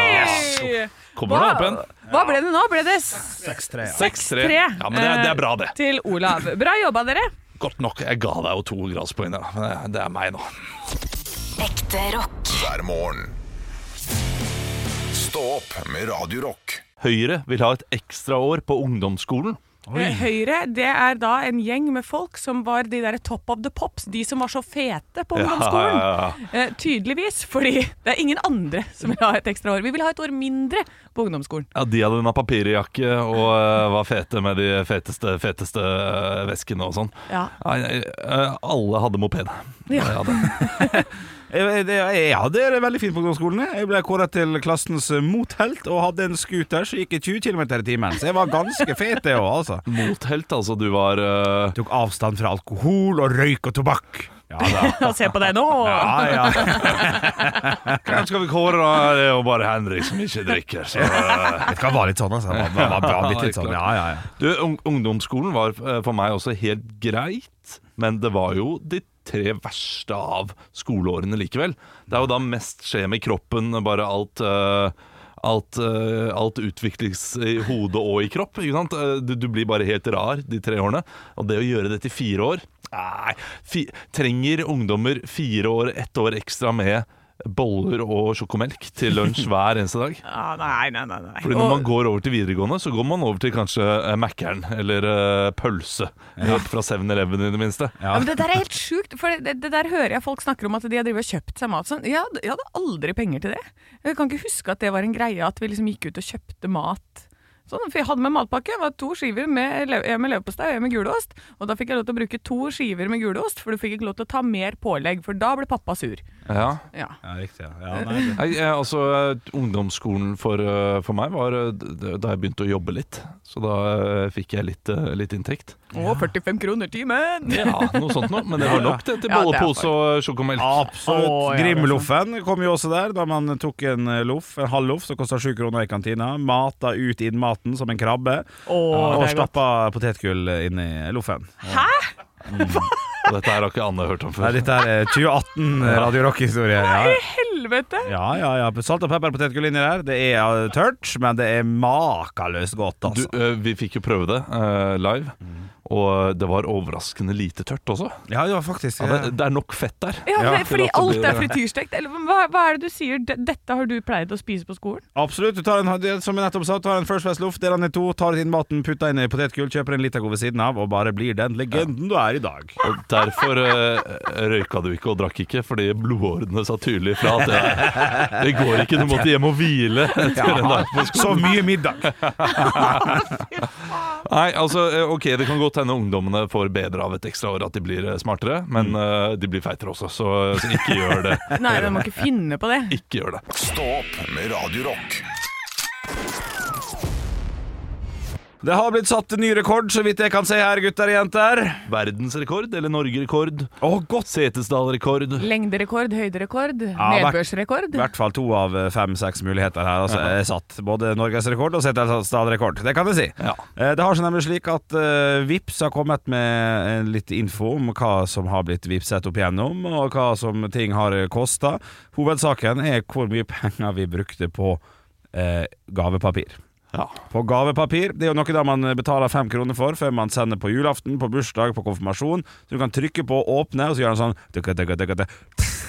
[SPEAKER 2] Kommer du Ah, opp igjen?
[SPEAKER 4] hva ble det nå? Ble det s-
[SPEAKER 3] 6-3. ja.
[SPEAKER 4] 6-3
[SPEAKER 2] Ja, men det er, det er bra, det.
[SPEAKER 4] eh, til Olav? Bra jobba, dere.
[SPEAKER 2] Godt nok. Jeg ga deg jo to gradspoeng der, da. Men det- det er meg nå.
[SPEAKER 6] Ekte rock.
[SPEAKER 1] hver morgen. Stå opp med Radio Rock.
[SPEAKER 2] Høyre vil ha et ekstraår på ungdomsskolen.
[SPEAKER 4] Eh, Høyre det er da en gjeng med folk som var de der top of the pops, de som var så fete på ungdomsskolen.
[SPEAKER 2] Ja,
[SPEAKER 4] Eh, tydeligvis, fordi det er ingen andre som vil ha et ekstra år. Vi vil ha et år mindre på ungdomsskolen.
[SPEAKER 2] Ja, de hadde en papirjakke og eh, var fete med de feteste, feteste eh, veskene og sånn.
[SPEAKER 4] Ja.
[SPEAKER 2] Nei, nei, eh, alle hadde moped.
[SPEAKER 4] Ja.
[SPEAKER 2] Jeg hadde.
[SPEAKER 3] Jeg, jeg, jeg hadde Eh, det veldig fint på ungdomsskolen. jeg. Jeg ble kåret til klassens eh, mothelt og hadde en scooter som gikk i 20 km i timen. Så jeg var ganske fet, det òg, altså.
[SPEAKER 2] Mothelt, altså. Du var eh,
[SPEAKER 3] Tok avstand fra alkohol og røyk og tobakk. Ja da.
[SPEAKER 4] Og se på deg nå!
[SPEAKER 3] Ja, ja.
[SPEAKER 2] Hvem skal vi kåre, da? Det er jo bare Henrik som ikke drikker. Så, eh.
[SPEAKER 3] Det kan være litt sånn, altså. Det var, var, var blitt litt sånn. Ja, ja, ja.
[SPEAKER 2] Du, ung ungdomsskolen var eh, for meg også helt greit, men det var jo de tre verste av skoleårene likevel. Det er jo da mest skjer med kroppen, bare alt eh, Alt, eh, alt utvikles i hodet og i kropp. Ikke sant? Eh, Du, du blir bare helt rar de tre årene. Og det å gjøre det til fire år Nei, fi, trenger ungdommer fire år, ett år ekstra med boller og sjokomelk til lunsj hver eneste dag?
[SPEAKER 4] Ah, nei, nei, nei. nei.
[SPEAKER 2] Fordi når
[SPEAKER 4] Og-
[SPEAKER 2] man går over til videregående, så går man over til kanskje eh, Mækkern eller eh, pølse. Helt fra 7-Eleven i det minste.
[SPEAKER 4] Ja, men Det der er helt sjukt, for det, det der hører jeg folk snakker om at de har drivet og kjøpt seg mat. Sånn. Jeg, hadde, jeg hadde aldri penger til det. Jeg kan ikke huske at det var en greie at vi liksom gikk ut og kjøpte mat. Sånn, for Jeg hadde med matpakke. Det var to skiver med, lev- en med leverpostei og en med gulost. Og da fikk jeg lov til å bruke to skiver med gulost, for du fikk ikke lov til å ta mer pålegg, for da ble pappa sur.
[SPEAKER 2] Ja.
[SPEAKER 4] Ja.
[SPEAKER 3] Ja, riktig. Ja. Ja, nei, det-
[SPEAKER 2] Jeg, jeg, altså, eh, ungdomsskolen for, eh, for meg var eh, d- da jeg begynte å jobbe litt. Så da eh, fikk jeg litt, eh, litt inntekt.
[SPEAKER 4] Å, 45 kroner timen!
[SPEAKER 2] Ja, noe sånt noe. Men det var nok det til
[SPEAKER 4] Ja, det er
[SPEAKER 2] bollepose og eh, sjokomelk.
[SPEAKER 3] Absolutt.
[SPEAKER 4] Å, ja, det er
[SPEAKER 3] Grimloffen kom jo også der, da man tok en eh, loff, en halv loff som kosta sju kroner i kantina. Mata ut inn maten som en krabbe,
[SPEAKER 4] Å,
[SPEAKER 3] og
[SPEAKER 4] det er godt.
[SPEAKER 3] stappa potetgull inn i loffen.
[SPEAKER 2] Og Dette her har ikke Anne hørt om
[SPEAKER 3] Nei,
[SPEAKER 2] før.
[SPEAKER 3] dette er 2018 Radio Rock-historie. Ja.
[SPEAKER 4] Helvete!
[SPEAKER 3] ja, ja, ja. Salt og pepper potetgull inni der. Det er eh, tørt, men det er makeløst godt,
[SPEAKER 2] Du,
[SPEAKER 3] altså.
[SPEAKER 2] eh, vi fikk jo prøve det eh, live, og eh, det var overraskende lite tørt også.
[SPEAKER 3] Ja, ja, faktisk. eh.
[SPEAKER 2] Ja,
[SPEAKER 3] Ja,
[SPEAKER 2] det, det er nok fett der.
[SPEAKER 4] Ja,
[SPEAKER 3] Ja.
[SPEAKER 4] men fordi
[SPEAKER 2] Til at det
[SPEAKER 4] alt
[SPEAKER 2] blir-
[SPEAKER 4] er frityrstekt. Eller hva, hva er det du sier? D- Dette har du pleid å spise på skolen?
[SPEAKER 3] Absolutt. Du tar en, det- som jeg nettopp sa, tar en First West Loff, deler den i to, tar inn maten, putter inn i potetgull, kjøper en Litago ved siden av, og bare blir den legenden du er i dag.
[SPEAKER 2] Og derfor eh, røyka du ikke og drakk ikke, fordi blodårene sa tydelig fra at det, det går ikke, du måtte hjem og hvile. etter en dag på skolen.
[SPEAKER 3] Så mye middag!
[SPEAKER 2] Nei, altså, eh, ok, Det kan godt hende ungdommene får bedre av et ekstra år, at de blir eh, smartere, men eh, de blir feitere også, så, så ikke gjør det.
[SPEAKER 4] Nei, du må ikke finne på det.
[SPEAKER 2] Ikke gjør det.
[SPEAKER 1] Stå opp med Radio Rock.
[SPEAKER 3] Det har blitt satt ny rekord, så vidt jeg kan se her, gutter og jenter.
[SPEAKER 2] Verdensrekord eller Norgerekord?
[SPEAKER 3] Å, godt!
[SPEAKER 2] Setesdal-rekord?
[SPEAKER 4] Lengderekord, høyderekord,
[SPEAKER 3] vært-
[SPEAKER 4] nedbørsrekord.
[SPEAKER 3] I hvert fall to av fem-seks muligheter her. Altså, er satt Både norgesrekord og Setesdal-rekord. Det kan jeg si.
[SPEAKER 2] Ja.
[SPEAKER 3] Eh, Det har seg nemlig slik at uh, Vips har kommet med eh, litt info om hva som har blitt vipset opp igjennom, og hva som ting har kosta. Hovedsaken er hvor mye penger vi brukte på eh, gavepapir.
[SPEAKER 2] Ja.
[SPEAKER 3] På gavepapir. Det er jo noe da man betaler fem kroner for før man sender på julaften, på bursdag, på konfirmasjon. Så du kan trykke på åpne, og så gjør den sånn tukka, tukka, tukka,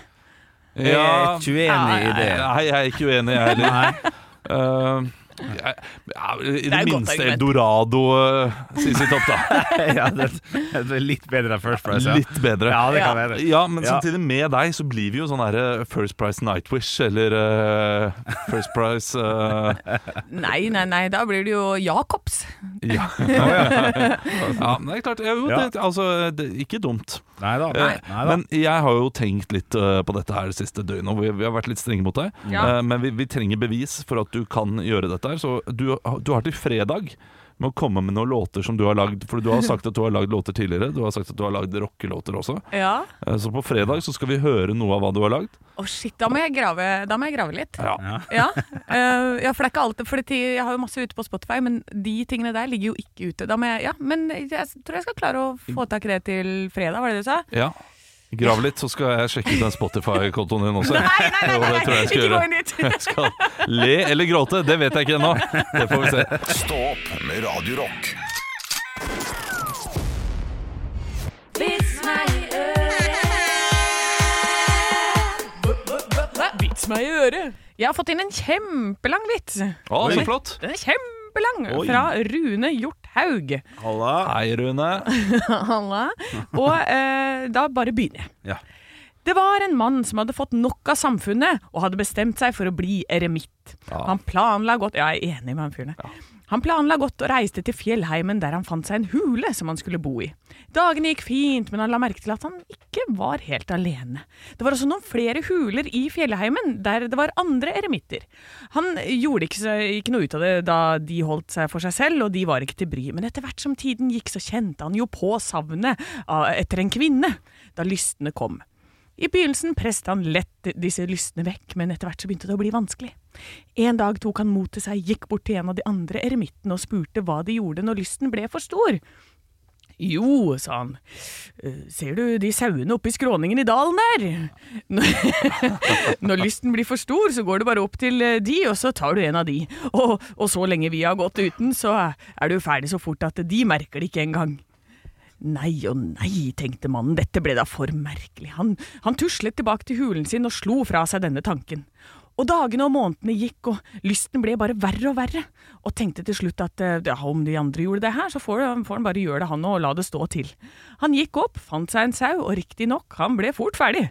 [SPEAKER 3] Jeg er
[SPEAKER 2] Ja.
[SPEAKER 3] ikke uenig i det.
[SPEAKER 2] Nei, jeg er ikke uenig, jeg heller.
[SPEAKER 3] Nei.
[SPEAKER 2] Eh, jeg- ja, I det,
[SPEAKER 4] er et godt
[SPEAKER 2] minste
[SPEAKER 4] argument.
[SPEAKER 2] Eldorado, uh, Sisi Topp, da.
[SPEAKER 3] ja, det, det er litt bedre enn First Price. Ja.
[SPEAKER 2] Litt bedre.
[SPEAKER 3] Ja, det kan
[SPEAKER 4] Ja.
[SPEAKER 3] være.
[SPEAKER 2] Ja, men
[SPEAKER 3] Ja.
[SPEAKER 2] samtidig med deg så blir vi jo sånn her eh, First Price Nightwish eller eh, First Price eh,
[SPEAKER 4] Nei, nei, nei, da blir det jo Jacobs.
[SPEAKER 2] ja. ja, men det er klart. Jo,
[SPEAKER 3] Ja.
[SPEAKER 2] det, altså, det, ikke dumt.
[SPEAKER 3] Nei da.
[SPEAKER 2] Eh, Men jeg har jo tenkt litt eh, på dette her det siste døgnet, og vi, vi har vært litt strenge mot deg.
[SPEAKER 4] Ja.
[SPEAKER 2] Eh, men vi, vi trenger bevis for at du kan gjøre dette her, så du, du har til fredag med å komme med noen låter som du har lagd. For du har sagt at du har lagd låter tidligere, du har sagt at du har lagd rockelåter også.
[SPEAKER 4] Ja.
[SPEAKER 2] Eh, Så på fredag så skal vi høre noe av hva du har lagd.
[SPEAKER 4] Å shit, da må jeg grave, da må jeg grave litt.
[SPEAKER 2] Ja.
[SPEAKER 4] Ja, eh, ja, for det er ikke alt For det, jeg har jo masse ute på Spotify, men de tingene der ligger jo ikke ute. Da må jeg, ja, men jeg tror jeg skal klare å få tak i det til fredag, var det det du sa?
[SPEAKER 2] Ja. Grav litt, så skal jeg sjekke ut den Spotify-kontoen din også.
[SPEAKER 4] Nei, nei, nei,
[SPEAKER 2] Jo,
[SPEAKER 4] nei,
[SPEAKER 2] det tror jeg
[SPEAKER 4] nei,
[SPEAKER 2] jeg skal
[SPEAKER 4] ikke gå
[SPEAKER 2] gjøre.
[SPEAKER 4] inn dit!
[SPEAKER 2] Skal le eller gråte, det vet jeg ikke ennå. Det får vi se.
[SPEAKER 1] Stå opp med Radio Rock.
[SPEAKER 4] Vits meg i øret! Jeg har fått inn en kjempelang vits.
[SPEAKER 2] Å, så flott.
[SPEAKER 4] Den er kjempelang!
[SPEAKER 2] Oi.
[SPEAKER 4] Fra Rune Hjort Haug.
[SPEAKER 3] Halla.
[SPEAKER 2] Hei, Rune.
[SPEAKER 4] Halla. Og eh, da bare begynner jeg.
[SPEAKER 3] Ja.
[SPEAKER 4] Det var en mann som hadde fått nok av samfunnet og hadde bestemt seg for å bli eremitt. Han planla godt Ja, jeg er enig med han fyren. der. Han planla godt og reiste til fjellheimen der han fant seg en hule som han skulle bo i. Dagene gikk fint, men han la merke til at han ikke var helt alene. Det var også noen flere huler i fjellheimen der det var andre eremitter. Han gjorde ikke, så- ikke noe ut av det da de holdt seg for seg selv, og de var ikke til bry, men etter hvert som tiden gikk, så kjente han jo på savnet av- etter en kvinne, da lystene kom. I begynnelsen presset han lett disse lystene vekk, men etter hvert så begynte det å bli vanskelig. En dag tok han mot til seg, gikk bort til en av de andre eremittene og spurte hva de gjorde når lysten ble for stor. Jo, sa han, «Eh, ser du de sauene oppe i skråningen i dalen der? Når- Når lysten blir for stor, så går du bare opp til eh, de, og så tar du en av de. Og, og så lenge vi har gått uten, så er du ferdig så fort at de merker det ikke engang. Nei og nei, tenkte mannen, dette ble da for merkelig. Han, han tuslet tilbake til hulen sin og slo fra seg denne tanken. Og dagene og månedene gikk, og lysten ble bare verre og verre. Og tenkte til slutt at eh, ja, om de andre gjorde det her, så får, får han bare gjøre det han og la det stå til. Han gikk opp, fant seg en sau, og riktignok, han ble fort ferdig.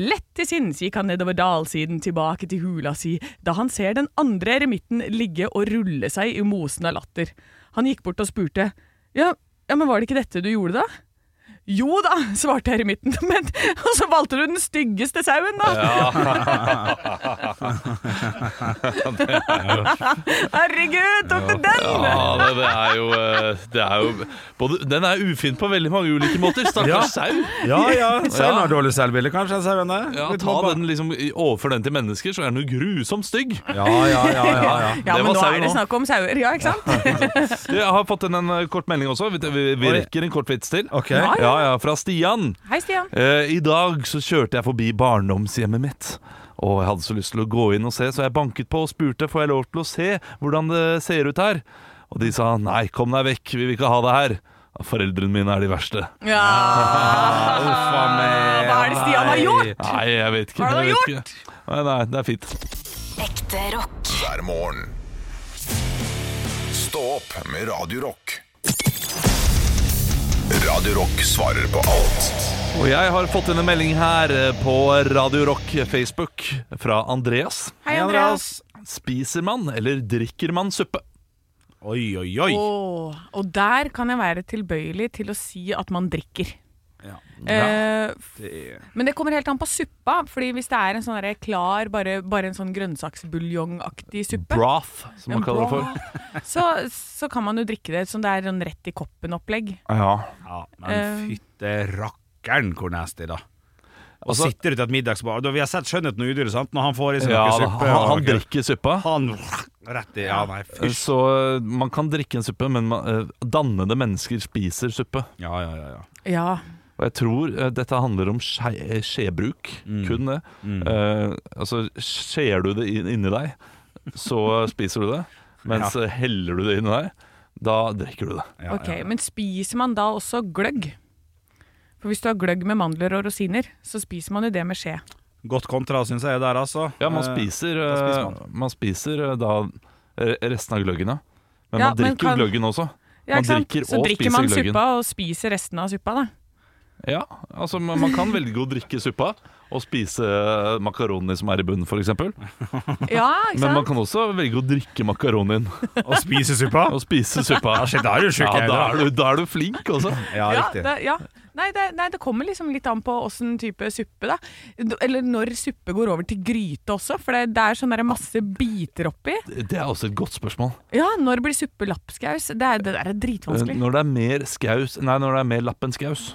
[SPEAKER 4] Lett til sinns gikk han nedover dalsiden tilbake til hula si, da han ser den andre eremitten ligge og rulle seg i mosen av latter. Han gikk bort og spurte, ja, ja men var det ikke dette du gjorde da? Jo da, svarte eremitten, men Og så valgte du den styggeste sauen, da! Herregud, tok du den?
[SPEAKER 2] Ja, det, det, er jo, eh, det er jo både, Den er ufin på veldig mange ulike måter. Stakkars sau.
[SPEAKER 3] Ja, ja. Sauen har dårlig selvbilde, kanskje. en Sauen der.
[SPEAKER 2] Ja,
[SPEAKER 3] Litt
[SPEAKER 2] ta
[SPEAKER 3] mobba.
[SPEAKER 2] den liksom i- Overfor den til mennesker, så er den jo grusomt stygg.
[SPEAKER 3] Ja, ja, ja, ja, ja.
[SPEAKER 4] Ja,
[SPEAKER 2] Det var
[SPEAKER 4] men nå
[SPEAKER 2] sau
[SPEAKER 4] er det
[SPEAKER 2] nå.
[SPEAKER 4] snakk om sauer, ja, ikke sant?
[SPEAKER 2] Jeg har fått inn en eh, kort melding også. Vi, vi, vi
[SPEAKER 3] Oi.
[SPEAKER 2] rekker en kort vits til.
[SPEAKER 3] Ok.
[SPEAKER 2] Ja, ja, Fra Stian.
[SPEAKER 4] Hei, Stian.
[SPEAKER 2] Eh, I dag så kjørte jeg forbi barndomshjemmet mitt. Og jeg hadde så lyst til å gå inn og se, så jeg banket på og spurte får jeg lov til å se hvordan det ser ut her. Og de sa nei, kom deg vekk, vi vil ikke ha deg her. Foreldrene mine er de verste.
[SPEAKER 4] Ja. Ah, Hva er det Stian har gjort?
[SPEAKER 2] Nei, jeg vet ikke.
[SPEAKER 4] Hva har du
[SPEAKER 2] jeg vet Ikke. Nei, nei, det er fint.
[SPEAKER 6] Ekte rock.
[SPEAKER 1] hver morgen. Stå opp med Radio Rock. Radio Rock svarer på alt
[SPEAKER 2] Og jeg har fått inn en melding her eh, på Radio Rock Facebook fra Andreas.
[SPEAKER 4] Hei, Andreas.
[SPEAKER 2] Spiser man eller drikker man suppe?
[SPEAKER 3] Oi, oi, oi.
[SPEAKER 4] Åh, og der kan jeg være tilbøyelig til å si at man drikker.
[SPEAKER 3] Ja.
[SPEAKER 4] Eh,
[SPEAKER 3] Det er-
[SPEAKER 4] men det kommer helt an på suppa. Fordi hvis det er en sånn der klar, bare, bare en sånn grønnsaksbuljongaktig suppe,
[SPEAKER 2] Broth, som man
[SPEAKER 4] En
[SPEAKER 2] kaller det for.
[SPEAKER 4] så, så kan man jo drikke det som det er sånn rett i koppen-opplegg.
[SPEAKER 2] Ja.
[SPEAKER 3] Ja,
[SPEAKER 4] Eh.
[SPEAKER 3] men fytte rakkeren hvor nasty, da. Og
[SPEAKER 2] Altså-
[SPEAKER 3] sitter du til et middagsbar da, Vi har sett skjønnheten og udyret, sant? Når han får i seg
[SPEAKER 2] Ja,
[SPEAKER 3] noe
[SPEAKER 2] da,
[SPEAKER 3] suppe
[SPEAKER 2] han,
[SPEAKER 3] og
[SPEAKER 2] han
[SPEAKER 3] noe-
[SPEAKER 2] drikker suppa.
[SPEAKER 3] Han rett i Ja, nei, fysj.
[SPEAKER 2] Så eh, man kan drikke en suppe, men man, eh, dannede mennesker spiser suppe.
[SPEAKER 3] Ja, ja, ja. ja.
[SPEAKER 4] Ja.
[SPEAKER 2] Og jeg tror eh, dette handler om skje, eh, skjebruk, kun det. Eh, altså, skjer du det inn, inni deg, så spiser du det. Mens eh, heller du det inni deg, da drikker du det.
[SPEAKER 3] ja,
[SPEAKER 4] Ok,
[SPEAKER 3] ja.
[SPEAKER 4] Men spiser man da også gløgg? For hvis du har gløgg med mandler og rosiner, så spiser man jo det med skje.
[SPEAKER 3] Godt kontra, syns jeg, der, altså.
[SPEAKER 2] Ja, man
[SPEAKER 3] Eh,
[SPEAKER 2] spiser,
[SPEAKER 3] da spiser man.
[SPEAKER 2] eh, man spiser eh, da eh, resten av gløggene. Men
[SPEAKER 4] Ja,
[SPEAKER 2] man
[SPEAKER 4] men
[SPEAKER 2] drikker
[SPEAKER 4] kan-
[SPEAKER 2] jo gløggen også.
[SPEAKER 4] Ja,
[SPEAKER 2] Man
[SPEAKER 4] ikke sant?
[SPEAKER 2] drikker
[SPEAKER 4] så
[SPEAKER 2] og
[SPEAKER 4] drikker
[SPEAKER 2] spiser
[SPEAKER 4] man
[SPEAKER 2] gløggen.
[SPEAKER 4] suppa og spiser restene av suppa, da.
[SPEAKER 2] Ja, altså man, man kan velge å drikke suppa og spise eh, makaroni som er i bunnen, f.eks.
[SPEAKER 4] Ja, ikke
[SPEAKER 2] Men man
[SPEAKER 4] sant?
[SPEAKER 2] kan også velge å drikke makaronien
[SPEAKER 3] Eh, Og spiser suppa?
[SPEAKER 2] og spise suppa.
[SPEAKER 3] Ja, shit, da er du sjuk.
[SPEAKER 2] Ja,
[SPEAKER 3] jeg,
[SPEAKER 2] da er du, da er du flink, altså.
[SPEAKER 3] Ja,
[SPEAKER 4] Ja,
[SPEAKER 3] riktig.
[SPEAKER 4] det, ja. Nei, det, nei, det kommer liksom litt an på åssen type suppe, da. D- Eller når suppe går over til gryte også, for det, det er sånn der masse biter oppi.
[SPEAKER 2] Det er også et godt spørsmål.
[SPEAKER 4] Ja, når blir suppe lapskaus? Det, er- det der er dritvanskelig.
[SPEAKER 2] Eh, Når det er mer skaus Nei, når det er mer lapp enn skaus,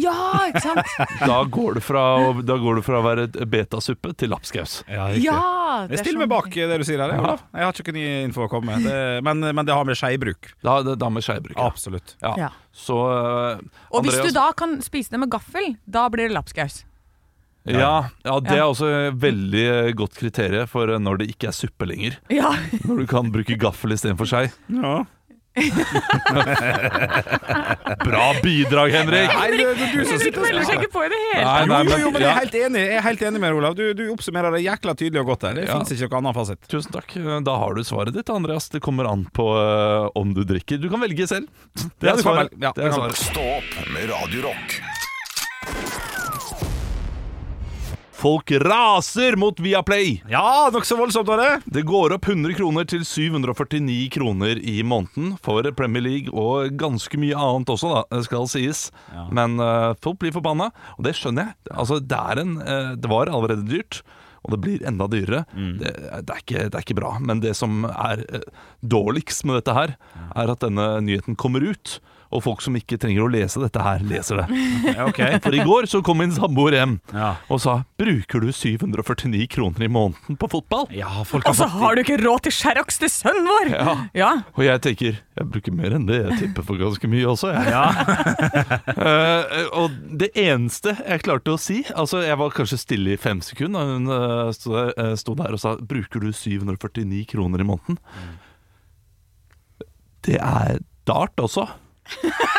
[SPEAKER 4] Ja, ikke sant?
[SPEAKER 2] da går det fra, å- da går det fra å være et betasuppe til lappskaus.
[SPEAKER 3] Ja, riktig.
[SPEAKER 4] Ja! det
[SPEAKER 3] Jeg
[SPEAKER 4] er
[SPEAKER 3] stiller
[SPEAKER 4] sånn-
[SPEAKER 3] meg bak eh, det du sier her, jeg, Olav. Jeg har ikke noe info å komme med. Det, men, men det har med skeibruk.
[SPEAKER 2] Da, da med skeibruk. ja.
[SPEAKER 3] Absolutt.
[SPEAKER 2] Ja.
[SPEAKER 4] Ja.
[SPEAKER 2] Så eh,
[SPEAKER 4] Og hvis
[SPEAKER 2] Andreas-
[SPEAKER 4] du da kan spise det med gaffel, da blir det lapskaus.
[SPEAKER 2] Ja, ja det er
[SPEAKER 4] Ja.
[SPEAKER 2] også et veldig eh, godt kriterium for eh, når det ikke er suppe lenger.
[SPEAKER 4] Ja,
[SPEAKER 2] Når du kan bruke gaffel istedenfor skei.
[SPEAKER 3] Ja.
[SPEAKER 2] Bra bidrag, Henrik!
[SPEAKER 3] Nei, det, det er du som
[SPEAKER 4] Henrik
[SPEAKER 3] sitter og
[SPEAKER 4] melder seg ikke på i det hele
[SPEAKER 2] Nei,
[SPEAKER 3] Jo,
[SPEAKER 2] nei,
[SPEAKER 3] jo, jo, men jeg
[SPEAKER 2] ja.
[SPEAKER 3] er helt enig, jeg er helt enig med deg, Olav. Du, du oppsummerer det jækla tydelig og godt her. Det
[SPEAKER 2] Ja.
[SPEAKER 3] finnes fins ikke noen annen fasit.
[SPEAKER 2] Tusen takk. Da har du svaret ditt, Andreas. Det kommer an på eh, om du drikker. Du kan velge selv. Det er
[SPEAKER 3] Ja, du kan
[SPEAKER 2] svaret.
[SPEAKER 3] velge. Ja,
[SPEAKER 2] Det er
[SPEAKER 3] du kan
[SPEAKER 2] svaret.
[SPEAKER 1] Stå opp med Radio Rock
[SPEAKER 2] Folk raser mot Viaplay!
[SPEAKER 3] Ja, nokså voldsomt var det.
[SPEAKER 2] Det går opp 100 kroner til 749 kroner i måneden for Premier League, og ganske mye annet også, da, det skal sies. Men eh, folk blir forbanna, og det skjønner jeg. Altså, det, er en, eh, det var allerede dyrt, og det blir enda dyrere. Det, det, er ikke, det er ikke bra. Men det som er eh, dårligst med dette her, er at denne nyheten kommer ut, og folk som ikke trenger å lese dette her, leser det.
[SPEAKER 3] Ja, ok.
[SPEAKER 2] For i går så kom min samboer hjem
[SPEAKER 3] Ja.
[SPEAKER 2] og sa 'Bruker du 749 kroner i måneden på fotball?'
[SPEAKER 3] Ja, folk
[SPEAKER 4] Og så har du ikke råd til Sherrox til sønnen vår! Ja.
[SPEAKER 2] Og jeg tenker Jeg bruker mer enn det. Jeg tipper for ganske mye også, jeg. Eh, og det eneste jeg klarte å si Altså, jeg var kanskje stille i fem sekunder. og Hun eh, sto der, eh, sto der og sa Bruker du 749 kroner i måneden? Det er dart også.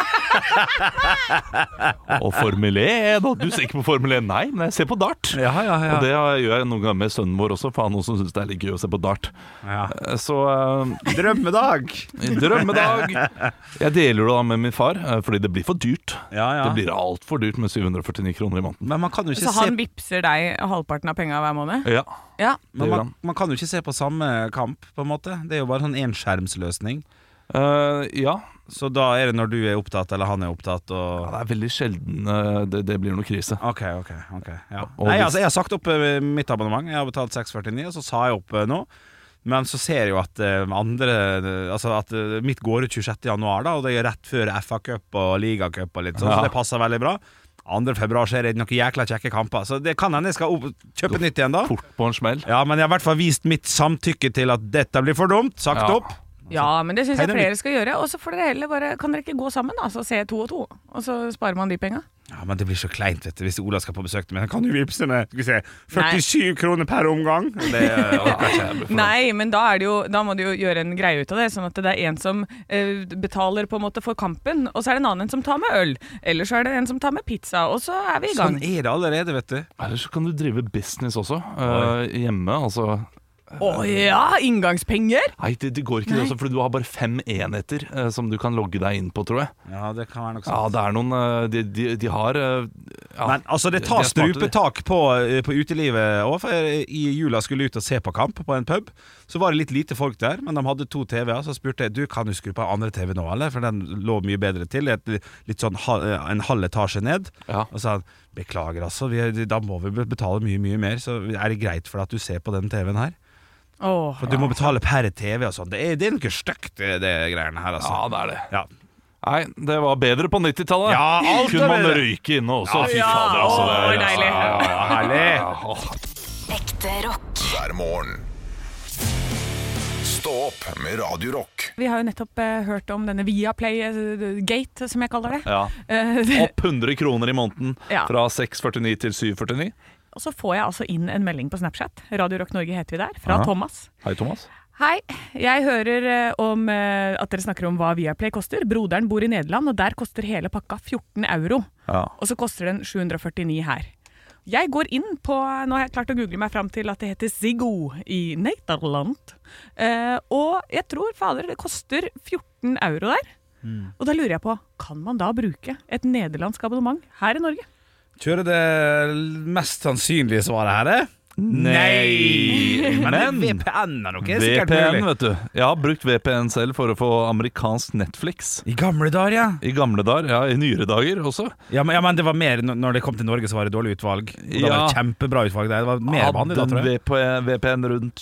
[SPEAKER 2] Og Formel E, 1 og Du ser ikke på Formel 1? Nei, men jeg ser på dart.
[SPEAKER 3] Ja, ja, ja.
[SPEAKER 2] Og det har- gjør jeg noen ganger med sønnen vår også, for han også syns det er litt gøy å se på dart.
[SPEAKER 3] Ja.
[SPEAKER 2] Eh, Så eh,
[SPEAKER 3] Drømmedag!
[SPEAKER 2] Drømmedag! Jeg deler det da med min far, eh, fordi det blir for dyrt.
[SPEAKER 3] Ja, ja.
[SPEAKER 2] Det blir altfor dyrt med 749 kroner i måneden.
[SPEAKER 3] Men man kan jo ikke
[SPEAKER 4] Så Altså, han
[SPEAKER 3] se
[SPEAKER 4] vippser deg halvparten av penga hver måned?
[SPEAKER 2] Ja,
[SPEAKER 4] Ja.
[SPEAKER 2] det
[SPEAKER 3] men
[SPEAKER 2] gjør
[SPEAKER 3] man,
[SPEAKER 2] han.
[SPEAKER 3] man kan jo ikke se på samme kamp, på en måte. Det er jo bare sånn enskjermsløsning.
[SPEAKER 2] Eh, ja.
[SPEAKER 3] Så da er det når du er opptatt, eller han er opptatt,
[SPEAKER 2] ja,
[SPEAKER 3] og
[SPEAKER 2] det er veldig sjelden eh, det, det blir noe krise.
[SPEAKER 3] OK, OK. ok ja.
[SPEAKER 2] Og
[SPEAKER 3] Nei,
[SPEAKER 2] hvis-
[SPEAKER 3] altså, jeg har sagt opp eh, mitt abonnement. Jeg har betalt 649, og så sa jeg opp eh, nå. Men så ser jeg jo at eh, andre eh, Altså at eh, mitt går ut 26. januar, da, og det er rett før FA-cup og ligacup og litt sånn,
[SPEAKER 2] Ja.
[SPEAKER 3] så det passer veldig bra. 2. februar skjer det noen jækla kjekke kamper, så det kan hende jeg skal opp, kjøpe nytt igjen da.
[SPEAKER 2] Fort på en smell.
[SPEAKER 3] Ja, men jeg har i hvert fall vist mitt samtykke til at dette blir for dumt. Sagt
[SPEAKER 2] Ja.
[SPEAKER 3] opp.
[SPEAKER 4] ja, men det syns jeg
[SPEAKER 3] Tegner
[SPEAKER 4] flere skal gjøre. Og så får dere heller bare Kan dere ikke gå sammen, da? Så se to og to, og så sparer man de penga?
[SPEAKER 3] Ja, men det blir så kleint, vet du, hvis Ola skal på besøk til meg. Kan du vippse med skal vi se, 47 kroner per omgang? Det eh, orker jeg ikke.
[SPEAKER 4] Nei, men da, er det jo, da må du jo gjøre en greie ut av det. Sånn at det er en som eh, betaler på en måte for kampen, og så er det en annen som tar med øl. Eller så er det en som tar med pizza, og så er vi i gang.
[SPEAKER 3] Sånn er det allerede, vet du.
[SPEAKER 2] Eller så kan du drive business også. eh, hjemme, altså.
[SPEAKER 4] Å ja! Inngangspenger!
[SPEAKER 2] Nei, det, det går ikke det også, for du har bare fem enheter eh, som du kan logge deg inn på, tror jeg.
[SPEAKER 3] Ja, det kan være noe
[SPEAKER 2] Ja,
[SPEAKER 4] Ah.
[SPEAKER 3] sånt.
[SPEAKER 2] det er noen eh, De, de, de har eh, ja,
[SPEAKER 3] Men altså, det
[SPEAKER 2] de- de
[SPEAKER 3] tar
[SPEAKER 2] er smarte, de.
[SPEAKER 3] strupetak på, eh, på utelivet òg. I jula skulle jeg ut og se på kamp på en pub. Så var det litt lite folk der, men de hadde to TV-er. Så spurte jeg du, kan du skru på en andre TV nå, eller? For den lå mye bedre til. Et, litt sånn hal- en halv etasje ned.
[SPEAKER 2] Ja.
[SPEAKER 3] Og sa han beklager, altså. Vi, da må vi betale mye, mye mer. Så er det greit for deg at du ser på den TV-en her?
[SPEAKER 4] Åh.
[SPEAKER 3] For du må betale per TV og sånn. Det, er- det er noe stygt, det, det greiene her,
[SPEAKER 2] ja,
[SPEAKER 4] Ah.
[SPEAKER 3] altså.
[SPEAKER 2] det er det.
[SPEAKER 3] Ja.
[SPEAKER 2] Nei, det var bedre på 90-tallet.
[SPEAKER 3] Ja, alt
[SPEAKER 2] Kunne
[SPEAKER 3] er
[SPEAKER 2] man
[SPEAKER 3] bedre.
[SPEAKER 2] røyke inne også? Fy
[SPEAKER 4] Ja,
[SPEAKER 2] fader, altså.
[SPEAKER 4] å,
[SPEAKER 2] det er-
[SPEAKER 4] deilig.
[SPEAKER 2] Ja, ja, ja.
[SPEAKER 3] Herlig!
[SPEAKER 6] Ekte rock.
[SPEAKER 1] hver morgen. Stå opp med Radio Rock.
[SPEAKER 4] Vi har jo nettopp eh, hørt om denne Viaplay-gate, som jeg kaller det.
[SPEAKER 2] Ja.
[SPEAKER 4] Eh, det-
[SPEAKER 2] Opp 100 kroner i måneden
[SPEAKER 4] Ja.
[SPEAKER 2] fra 6,49 til 7,49.
[SPEAKER 4] og så får jeg altså inn en melding på Snapchat, Radio Rock Norge heter vi der, fra
[SPEAKER 2] Ja.
[SPEAKER 4] Thomas.
[SPEAKER 2] Hei, Thomas.
[SPEAKER 4] Hei, jeg hører eh, om eh, at dere snakker om hva Viaplay koster. Broderen bor i Nederland, og der koster hele pakka 14 euro.
[SPEAKER 2] Ja.
[SPEAKER 4] Og så koster den 749 her. Jeg går inn på Nå har jeg klart å google meg fram til at det heter Ziggo i Nederland. Eh, og jeg tror, fader, det koster 14 euro der.
[SPEAKER 3] Mm.
[SPEAKER 4] Og da lurer jeg på, kan man da bruke et nederlandsk abonnement her i Norge?
[SPEAKER 3] Kjører det mest sannsynlige svaret her, det? Nei! Men VPN er nok er sikkert
[SPEAKER 2] VPN,
[SPEAKER 3] mulig.
[SPEAKER 2] vet du. Jeg har brukt VPN selv for å få amerikansk Netflix.
[SPEAKER 3] I gamle dager, ja.
[SPEAKER 2] I gamle dager, ja, i nyere dager også.
[SPEAKER 3] Ja men, ja, men det var mer når- Når det kom til Norge, så var det dårlig utvalg. Og da var
[SPEAKER 2] Ja.
[SPEAKER 3] det kjempebra utvalg der. Det var mer vanlig da,
[SPEAKER 2] Hadde
[SPEAKER 3] tror jeg.
[SPEAKER 2] en VPN rundt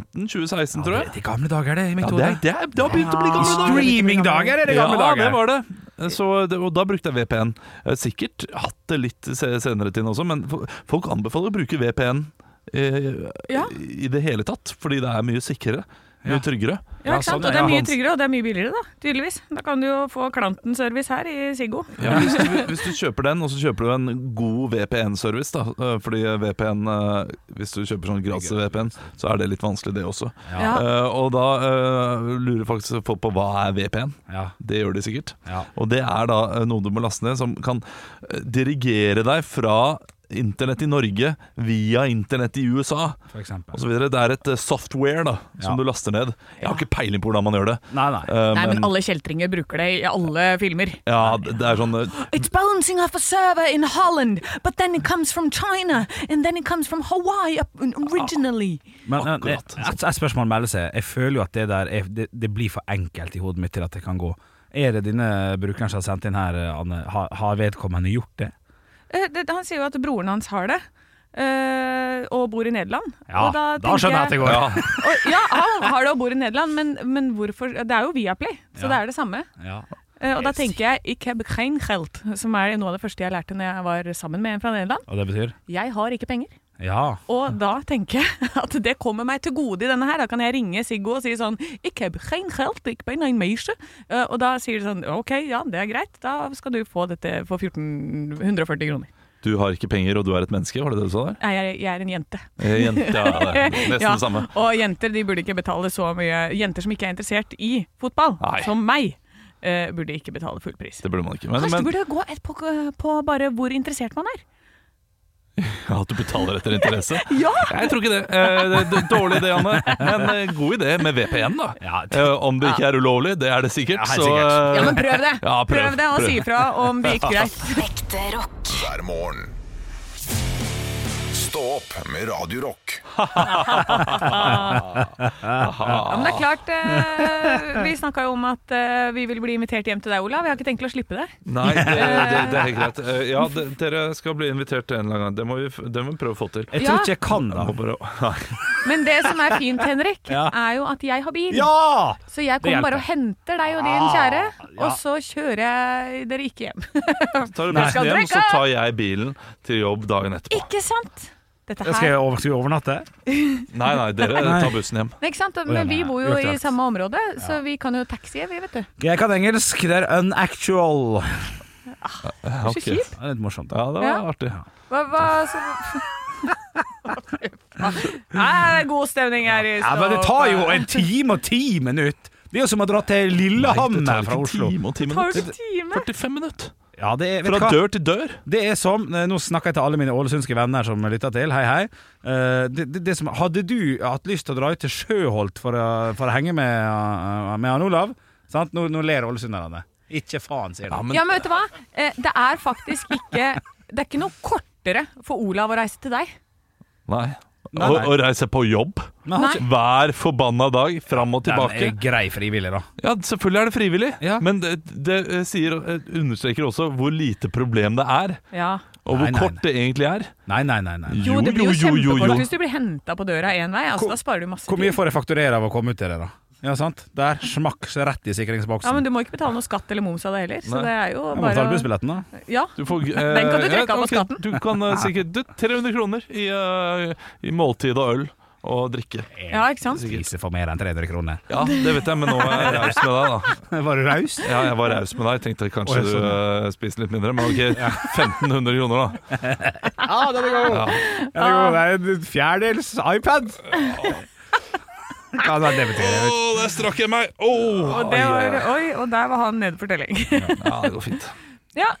[SPEAKER 2] 2015-2016, tror
[SPEAKER 3] Ja,
[SPEAKER 2] jeg.
[SPEAKER 3] det- de gamle dager, det. I mitt
[SPEAKER 2] Ja, det,
[SPEAKER 3] hode.
[SPEAKER 2] er, det, er, det har begynt å bli gamle dager.
[SPEAKER 3] Streamingdager er det gamle
[SPEAKER 2] ja,
[SPEAKER 3] dager.
[SPEAKER 2] det var det. Så det. Og da brukte jeg VPN. Jeg har sikkert hatt det litt se- senere til også, men fo- folk anbefaler å bruke VPN eh,
[SPEAKER 4] Ja.
[SPEAKER 2] i det hele tatt, fordi det er mye sikrere. Mye tryggere.
[SPEAKER 4] Ja, ikke sant?
[SPEAKER 3] sånn,
[SPEAKER 4] og det er
[SPEAKER 3] ja.
[SPEAKER 4] mye tryggere, og det er mye billigere, da. Tydeligvis. Da kan du jo få klanten-service her i Ziggo.
[SPEAKER 2] Ja, hvis, du, hvis du kjøper den, og så kjøper du en god VPN-service, da eh, Fordi VPN eh, Hvis du kjøper sånn gratis VPN, så er det litt vanskelig, det også.
[SPEAKER 4] Ja.
[SPEAKER 2] Eh, og da eh, lurer faktisk folk på hva er VPN.
[SPEAKER 3] Ja.
[SPEAKER 2] Det gjør de sikkert.
[SPEAKER 3] Ja.
[SPEAKER 2] Og det er da eh, noe du må laste ned, som kan eh, dirigere deg fra internett i Norge via internett i USA
[SPEAKER 3] For eksempel.
[SPEAKER 2] og så videre. Det er et eh, software da som
[SPEAKER 3] Ja.
[SPEAKER 2] du laster ned. Jeg har ikke peiling på hvordan man gjør det.
[SPEAKER 3] Nei, nei.
[SPEAKER 2] Eh,
[SPEAKER 4] Nei, men
[SPEAKER 2] men
[SPEAKER 4] alle kjeltringer bruker det i alle filmer.
[SPEAKER 2] ja, det det er sånn eh,
[SPEAKER 4] It's bouncing off a server in Holland, but then it comes from China, and then it comes from Hawaii originally.
[SPEAKER 3] Men men,
[SPEAKER 2] Akkurat.
[SPEAKER 3] et, et spørsmål melder seg. Jeg føler jo at det der er, det, det blir for enkelt i hodet mitt til at det kan gå. Er det denne brukeren som har sendt inn her, Anne? Har, har vedkommende gjort det?
[SPEAKER 4] Eh, det, han sier jo at broren hans har det. eh, og bor i Nederland.
[SPEAKER 3] Ja,
[SPEAKER 4] og
[SPEAKER 3] da,
[SPEAKER 4] tenker
[SPEAKER 3] skjønner jeg at det går.
[SPEAKER 4] og, ja, han har det og bor i Nederland, men, men hvorfor Det er jo Viaplay,
[SPEAKER 3] Ja.
[SPEAKER 4] så det er det samme.
[SPEAKER 3] Ja.
[SPEAKER 4] Eh, og da tenker jeg 'ik heb geen geld', som er noe av det første jeg lærte når jeg var sammen med en fra Nederland.
[SPEAKER 3] Og det betyr?
[SPEAKER 4] Jeg har ikke penger.
[SPEAKER 3] Ja.
[SPEAKER 4] Og da tenker jeg at det kommer meg til gode i denne her. Da kan jeg ringe Siggo og si sånn «Ik heb geen geld, ik ben een meisje». Eh, Og da sier de sånn OK, ja, det er greit. Da skal du få dette for 14, 140 kroner.
[SPEAKER 2] Du har ikke penger, og du er et menneske, var det det du sa der?
[SPEAKER 4] Nei, jeg, jeg er en jente.
[SPEAKER 2] Eh, Jente, ja, det er nesten
[SPEAKER 4] Ja,
[SPEAKER 2] det samme.
[SPEAKER 4] Og jenter de burde ikke betale så mye Jenter som ikke er interessert i fotball,
[SPEAKER 2] Nei.
[SPEAKER 4] som meg. eh, burde ikke betale full pris.
[SPEAKER 2] Det burde man ikke. Men,
[SPEAKER 4] Kanskje
[SPEAKER 2] men
[SPEAKER 4] det burde gå et på, på bare hvor interessert man er.
[SPEAKER 2] Ja, at du betaler etter interesse?
[SPEAKER 4] Ja!
[SPEAKER 2] Jeg tror ikke det. Eh, det er d- Dårlig idé, Anne. Men eh, god idé med VPN, da.
[SPEAKER 3] Ja, det-
[SPEAKER 2] Eh, Om det ikke er ulovlig, det er det sikkert.
[SPEAKER 3] Ja, helt
[SPEAKER 2] så,
[SPEAKER 3] sikkert.
[SPEAKER 2] eh,
[SPEAKER 4] Ja, men prøv det!
[SPEAKER 2] Ja, prøv,
[SPEAKER 4] prøv, det og
[SPEAKER 2] prøv.
[SPEAKER 4] si ifra om det gikk greit.
[SPEAKER 6] Ekte rock.
[SPEAKER 1] hver morgen. Stå opp med Radio Rock.
[SPEAKER 4] Ja, men det er klart, eh, Vi snakka jo om at eh, vi ville bli invitert hjem til deg, Olav. Jeg har ikke tenkt å slippe det.
[SPEAKER 2] Nei, det, det, det er helt greit. Eh, Ja, de, dere skal bli invitert en eller annen gang. Det må vi, f- det må vi prøve å få til.
[SPEAKER 3] Jeg
[SPEAKER 4] Ja.
[SPEAKER 3] tror ikke jeg kan da.
[SPEAKER 2] Må bare- Nei.
[SPEAKER 4] Men det som er fint, Henrik,
[SPEAKER 3] Ja.
[SPEAKER 4] er jo at jeg har bil.
[SPEAKER 3] Ja!
[SPEAKER 4] Så
[SPEAKER 3] Det
[SPEAKER 4] jeg
[SPEAKER 3] hjelper.
[SPEAKER 4] kommer bare og henter deg og din
[SPEAKER 3] Ah,
[SPEAKER 4] kjære,
[SPEAKER 3] ja.
[SPEAKER 4] og så kjører jeg dere ikke hjem.
[SPEAKER 2] Tar du bussen
[SPEAKER 3] Nei.
[SPEAKER 2] hjem, så
[SPEAKER 4] Skal drikke!
[SPEAKER 2] tar jeg bilen til jobb dagen etterpå.
[SPEAKER 4] Ikke sant? Dette
[SPEAKER 3] Skal jeg
[SPEAKER 4] her.
[SPEAKER 3] over, skal vi overnatte?
[SPEAKER 2] Nei, nei, dere
[SPEAKER 3] Nei.
[SPEAKER 2] tar bussen hjem.
[SPEAKER 4] Nei, ikke sant?
[SPEAKER 3] Å, ja,
[SPEAKER 4] Men vi
[SPEAKER 3] nei,
[SPEAKER 4] bor jo i
[SPEAKER 3] uaktuelt.
[SPEAKER 4] samme område, så vi kan jo taxie, vi, vet du.
[SPEAKER 3] Jeg kan engelsk, det er unactual.
[SPEAKER 2] Ja,
[SPEAKER 4] Så
[SPEAKER 2] ok.
[SPEAKER 4] kjipt.
[SPEAKER 3] Det er litt morsomt.
[SPEAKER 2] Ja, det var
[SPEAKER 4] Ja.
[SPEAKER 2] artig.
[SPEAKER 4] Hva, hva så... Nei, det er god stemning her i
[SPEAKER 3] Ja, men det tar jo en time og ti minutter. Det er jo som å dra til
[SPEAKER 2] Nei,
[SPEAKER 3] Lillehammer
[SPEAKER 2] det
[SPEAKER 3] fra
[SPEAKER 2] tar ikke en
[SPEAKER 3] Oslo.
[SPEAKER 2] time og ti
[SPEAKER 4] Det tar jo
[SPEAKER 2] minutter.
[SPEAKER 4] en time.
[SPEAKER 2] 45 minutter.
[SPEAKER 3] Ja, det er, vet du
[SPEAKER 2] Fra
[SPEAKER 3] hva?
[SPEAKER 2] dør til dør.
[SPEAKER 3] Det er som, eh, Nå snakker jeg til alle mine ålesundske venner som lytter til. Hei, hei. Eh, Det, det, det som, hadde du hatt lyst til å dra ut til Sjøholt for å, for å henge med, eh, med han Olav? Sant? Nå, nå ler ålesunderne. Ikke faen, sier de.
[SPEAKER 2] Ja, men
[SPEAKER 4] Ja, men vet du hva? Eh, Det er faktisk ikke Det er ikke noe kortere for Olav å reise til deg.
[SPEAKER 2] Nei.
[SPEAKER 3] Nei,
[SPEAKER 2] Og,
[SPEAKER 3] nei.
[SPEAKER 2] og reise på jobb
[SPEAKER 3] Men har
[SPEAKER 4] Nei.
[SPEAKER 3] ikke-
[SPEAKER 2] hver forbanna dag, fram og
[SPEAKER 3] Den
[SPEAKER 2] tilbake.
[SPEAKER 3] er grei frivillig, da.
[SPEAKER 2] Ja, Selvfølgelig er det frivillig,
[SPEAKER 3] Ja.
[SPEAKER 2] men det, det eh, sier, eh, understreker også hvor lite problem det er.
[SPEAKER 4] Ja.
[SPEAKER 2] Og hvor
[SPEAKER 3] Nei, nei,
[SPEAKER 2] kort det egentlig er.
[SPEAKER 3] Nei, nei, nei. nei.
[SPEAKER 4] Jo, det blir jo,
[SPEAKER 2] jo, jo, jo, jo.
[SPEAKER 4] kjempekort hvis du blir henta på døra én vei. Altså,
[SPEAKER 3] Hvor-
[SPEAKER 4] da sparer du masse
[SPEAKER 3] Hvor mye
[SPEAKER 4] tid.
[SPEAKER 3] får jeg fakturere av å komme ut til det, da? Ja, sant? Der, smakk, så rett i sikringsboksen.
[SPEAKER 4] Ja, men du må ikke betale noe skatt eller moms av det heller. Så
[SPEAKER 2] Nei.
[SPEAKER 4] det er jo
[SPEAKER 3] jeg må
[SPEAKER 4] bare
[SPEAKER 3] betale bussbilletten, da.
[SPEAKER 4] Ja.
[SPEAKER 2] Du får, eh,
[SPEAKER 4] Den kan du trekke
[SPEAKER 2] ja,
[SPEAKER 4] av på
[SPEAKER 2] ok,
[SPEAKER 4] skatten.
[SPEAKER 2] Du kan eh, sikkert du, 300 kroner i, eh, i måltid og øl og drikke.
[SPEAKER 4] ja, ikke sant?
[SPEAKER 3] Spiser for mer enn 300 kroner.
[SPEAKER 2] Ja, det vet jeg, men nå er jeg raus med deg, da.
[SPEAKER 3] Var du raus?
[SPEAKER 2] Ja, jeg var raus med deg. Jeg tenkte kanskje
[SPEAKER 3] Å, jeg
[SPEAKER 2] du eh, spiser litt mindre, men ok, 1500 kroner, da.
[SPEAKER 3] Ja, den er god! Den er god. Det er en fjerdedels iPad. Ja, det er det betyr
[SPEAKER 2] Å,
[SPEAKER 3] det.
[SPEAKER 2] der strakk jeg meg! Åh,
[SPEAKER 4] Og, det var, oi, og der var han nede for telling.
[SPEAKER 2] Ja, det går fint.
[SPEAKER 4] ja,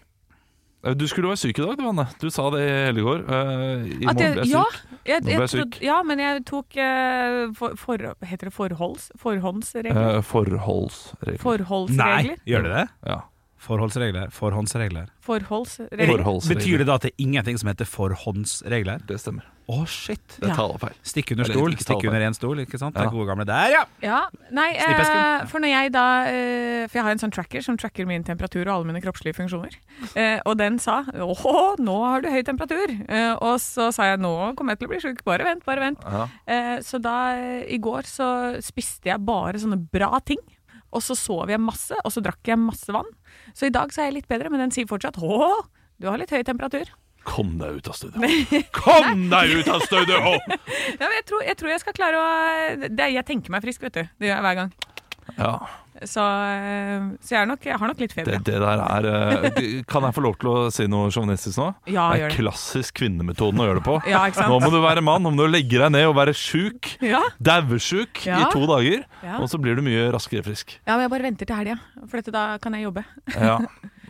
[SPEAKER 2] Eh, Du skulle være syk i dag, du, Anne. Du sa det i helligår. Eh, I
[SPEAKER 4] at
[SPEAKER 2] morgen blir jeg
[SPEAKER 4] jeg, ja,
[SPEAKER 2] syk. Nå
[SPEAKER 4] jeg,
[SPEAKER 2] ble
[SPEAKER 4] jeg
[SPEAKER 2] jeg
[SPEAKER 4] trodde,
[SPEAKER 2] syk.
[SPEAKER 4] ja, men jeg tok eh, for, for, Heter det forholds? Forhåndsregler?
[SPEAKER 2] Eh, forholdsregler.
[SPEAKER 4] Forholdsregler?
[SPEAKER 3] gjør det det?
[SPEAKER 2] ja.
[SPEAKER 3] Forholdsregler. Forhåndsregler.
[SPEAKER 4] Forholdsregler.
[SPEAKER 2] Forholdsregler.
[SPEAKER 3] Betyr det da at det er ingenting som heter forhåndsregler?
[SPEAKER 2] Det stemmer.
[SPEAKER 3] Å, shit.
[SPEAKER 2] Det er
[SPEAKER 4] Ja.
[SPEAKER 2] talefeil.
[SPEAKER 3] Stikk under
[SPEAKER 2] Eller
[SPEAKER 3] stol,
[SPEAKER 2] ikke
[SPEAKER 3] stikk
[SPEAKER 2] tallfeil.
[SPEAKER 3] under én stol, ikke sant? Det
[SPEAKER 2] Ja.
[SPEAKER 3] er gode gamle der, ja!
[SPEAKER 4] Ja, nei, eh,
[SPEAKER 3] Snippesken.
[SPEAKER 4] for når jeg da eh, For jeg har en sånn tracker som tracker min temperatur og alle mine kroppslige funksjoner. Eh, og den sa 'Å, nå har du høy temperatur'. Eh, og så sa jeg 'Nå kommer jeg til å bli sjuk. Bare vent, bare vent'.
[SPEAKER 2] Ja.
[SPEAKER 4] Eh, så da eh, i går så spiste jeg bare sånne bra ting. Og så sov jeg masse, og så drakk jeg masse vann. Så i dag så er jeg litt bedre, men den sier fortsatt 'Å, du har litt høy temperatur'.
[SPEAKER 2] Kom deg ut av studio! Kom deg ut av studio!
[SPEAKER 4] Ja, men jeg tror jeg, tror jeg skal klare å det, Jeg tenker meg frisk, vet du. Det gjør jeg hver gang.
[SPEAKER 2] Ja,
[SPEAKER 4] Så, eh, så jeg, er nok, jeg har nok litt feber.
[SPEAKER 2] det,
[SPEAKER 4] ja.
[SPEAKER 2] det der er eh, det- Kan jeg få lov til å si noe sjåvinistisk nå?
[SPEAKER 4] Ja,
[SPEAKER 2] det
[SPEAKER 4] gjør
[SPEAKER 2] er
[SPEAKER 4] det.
[SPEAKER 2] klassisk kvinnemetoden å gjøre det på.
[SPEAKER 4] Ja, ikke sant?
[SPEAKER 2] Nå må du være mann, nå må du legge deg ned og være sjuk.
[SPEAKER 4] Ja.
[SPEAKER 2] Dauesjuk
[SPEAKER 4] Ja.
[SPEAKER 2] i to dager,
[SPEAKER 4] Ja.
[SPEAKER 2] og så blir du mye raskere frisk.
[SPEAKER 4] ja, men jeg bare venter til helga, for dette, da kan jeg jobbe.
[SPEAKER 2] Ja.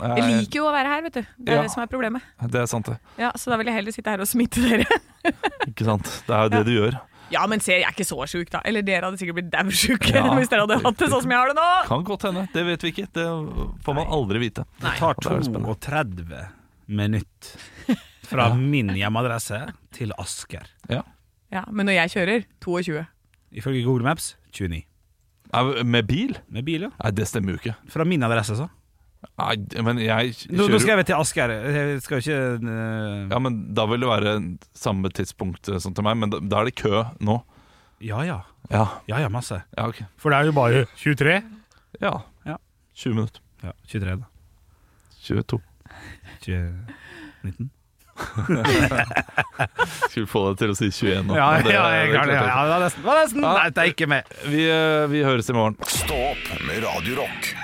[SPEAKER 4] Jeg
[SPEAKER 2] Eh,
[SPEAKER 4] liker jo å være her, vet du. Det er
[SPEAKER 2] Ja.
[SPEAKER 4] det som er problemet.
[SPEAKER 2] Det er sant, det.
[SPEAKER 4] Ja, Så da vil jeg heller sitte her og smitte dere.
[SPEAKER 2] Ikke sant? Det er jo det du gjør.
[SPEAKER 4] Ja, men se, jeg er ikke så sjuk, da. Eller dere hadde sikkert blitt daudsjuke
[SPEAKER 2] Ja.
[SPEAKER 4] hvis dere hadde hatt det sånn som jeg har det nå.
[SPEAKER 2] Kan godt hende. Det vet vi ikke. Det får man aldri vite.
[SPEAKER 3] Det tar
[SPEAKER 2] Og da er det spennende.
[SPEAKER 3] 32 minutter fra min hjemmeadresse til Asker.
[SPEAKER 4] Ja, Men når jeg kjører 22.
[SPEAKER 3] Ifølge Google Maps 29.
[SPEAKER 2] Nei, Med bil?
[SPEAKER 3] Med bil, ja.
[SPEAKER 2] Nei, det stemmer jo ikke.
[SPEAKER 3] Fra min adresse, så.
[SPEAKER 2] Nei, men jeg
[SPEAKER 3] Nå, nå
[SPEAKER 2] kjører jo
[SPEAKER 3] skal jeg til Asker. Jeg skal jo ikke eh,
[SPEAKER 2] Ja, men da vil det være samme tidspunkt eh, som til meg, men da, da er det kø nå.
[SPEAKER 3] Ja ja.
[SPEAKER 2] Ja,
[SPEAKER 3] Ja ja, masse.
[SPEAKER 2] ja ok.
[SPEAKER 3] For det er jo bare 23.
[SPEAKER 2] Ja.
[SPEAKER 3] Ja.
[SPEAKER 2] 20 minutter.
[SPEAKER 3] Ja, 23, da.
[SPEAKER 2] 22.
[SPEAKER 3] 20, 19.
[SPEAKER 2] Skulle få deg til å si 21 nå.
[SPEAKER 3] Ja,
[SPEAKER 2] men det-
[SPEAKER 3] ja, jeg
[SPEAKER 2] det
[SPEAKER 3] klarer det.
[SPEAKER 2] klarte jeg
[SPEAKER 3] Ja, det var nesten. Det var nesten. Nei, det er ikke med.
[SPEAKER 2] ikke. Vi, eh, vi høres i morgen.
[SPEAKER 1] Stå opp med Radio Rock.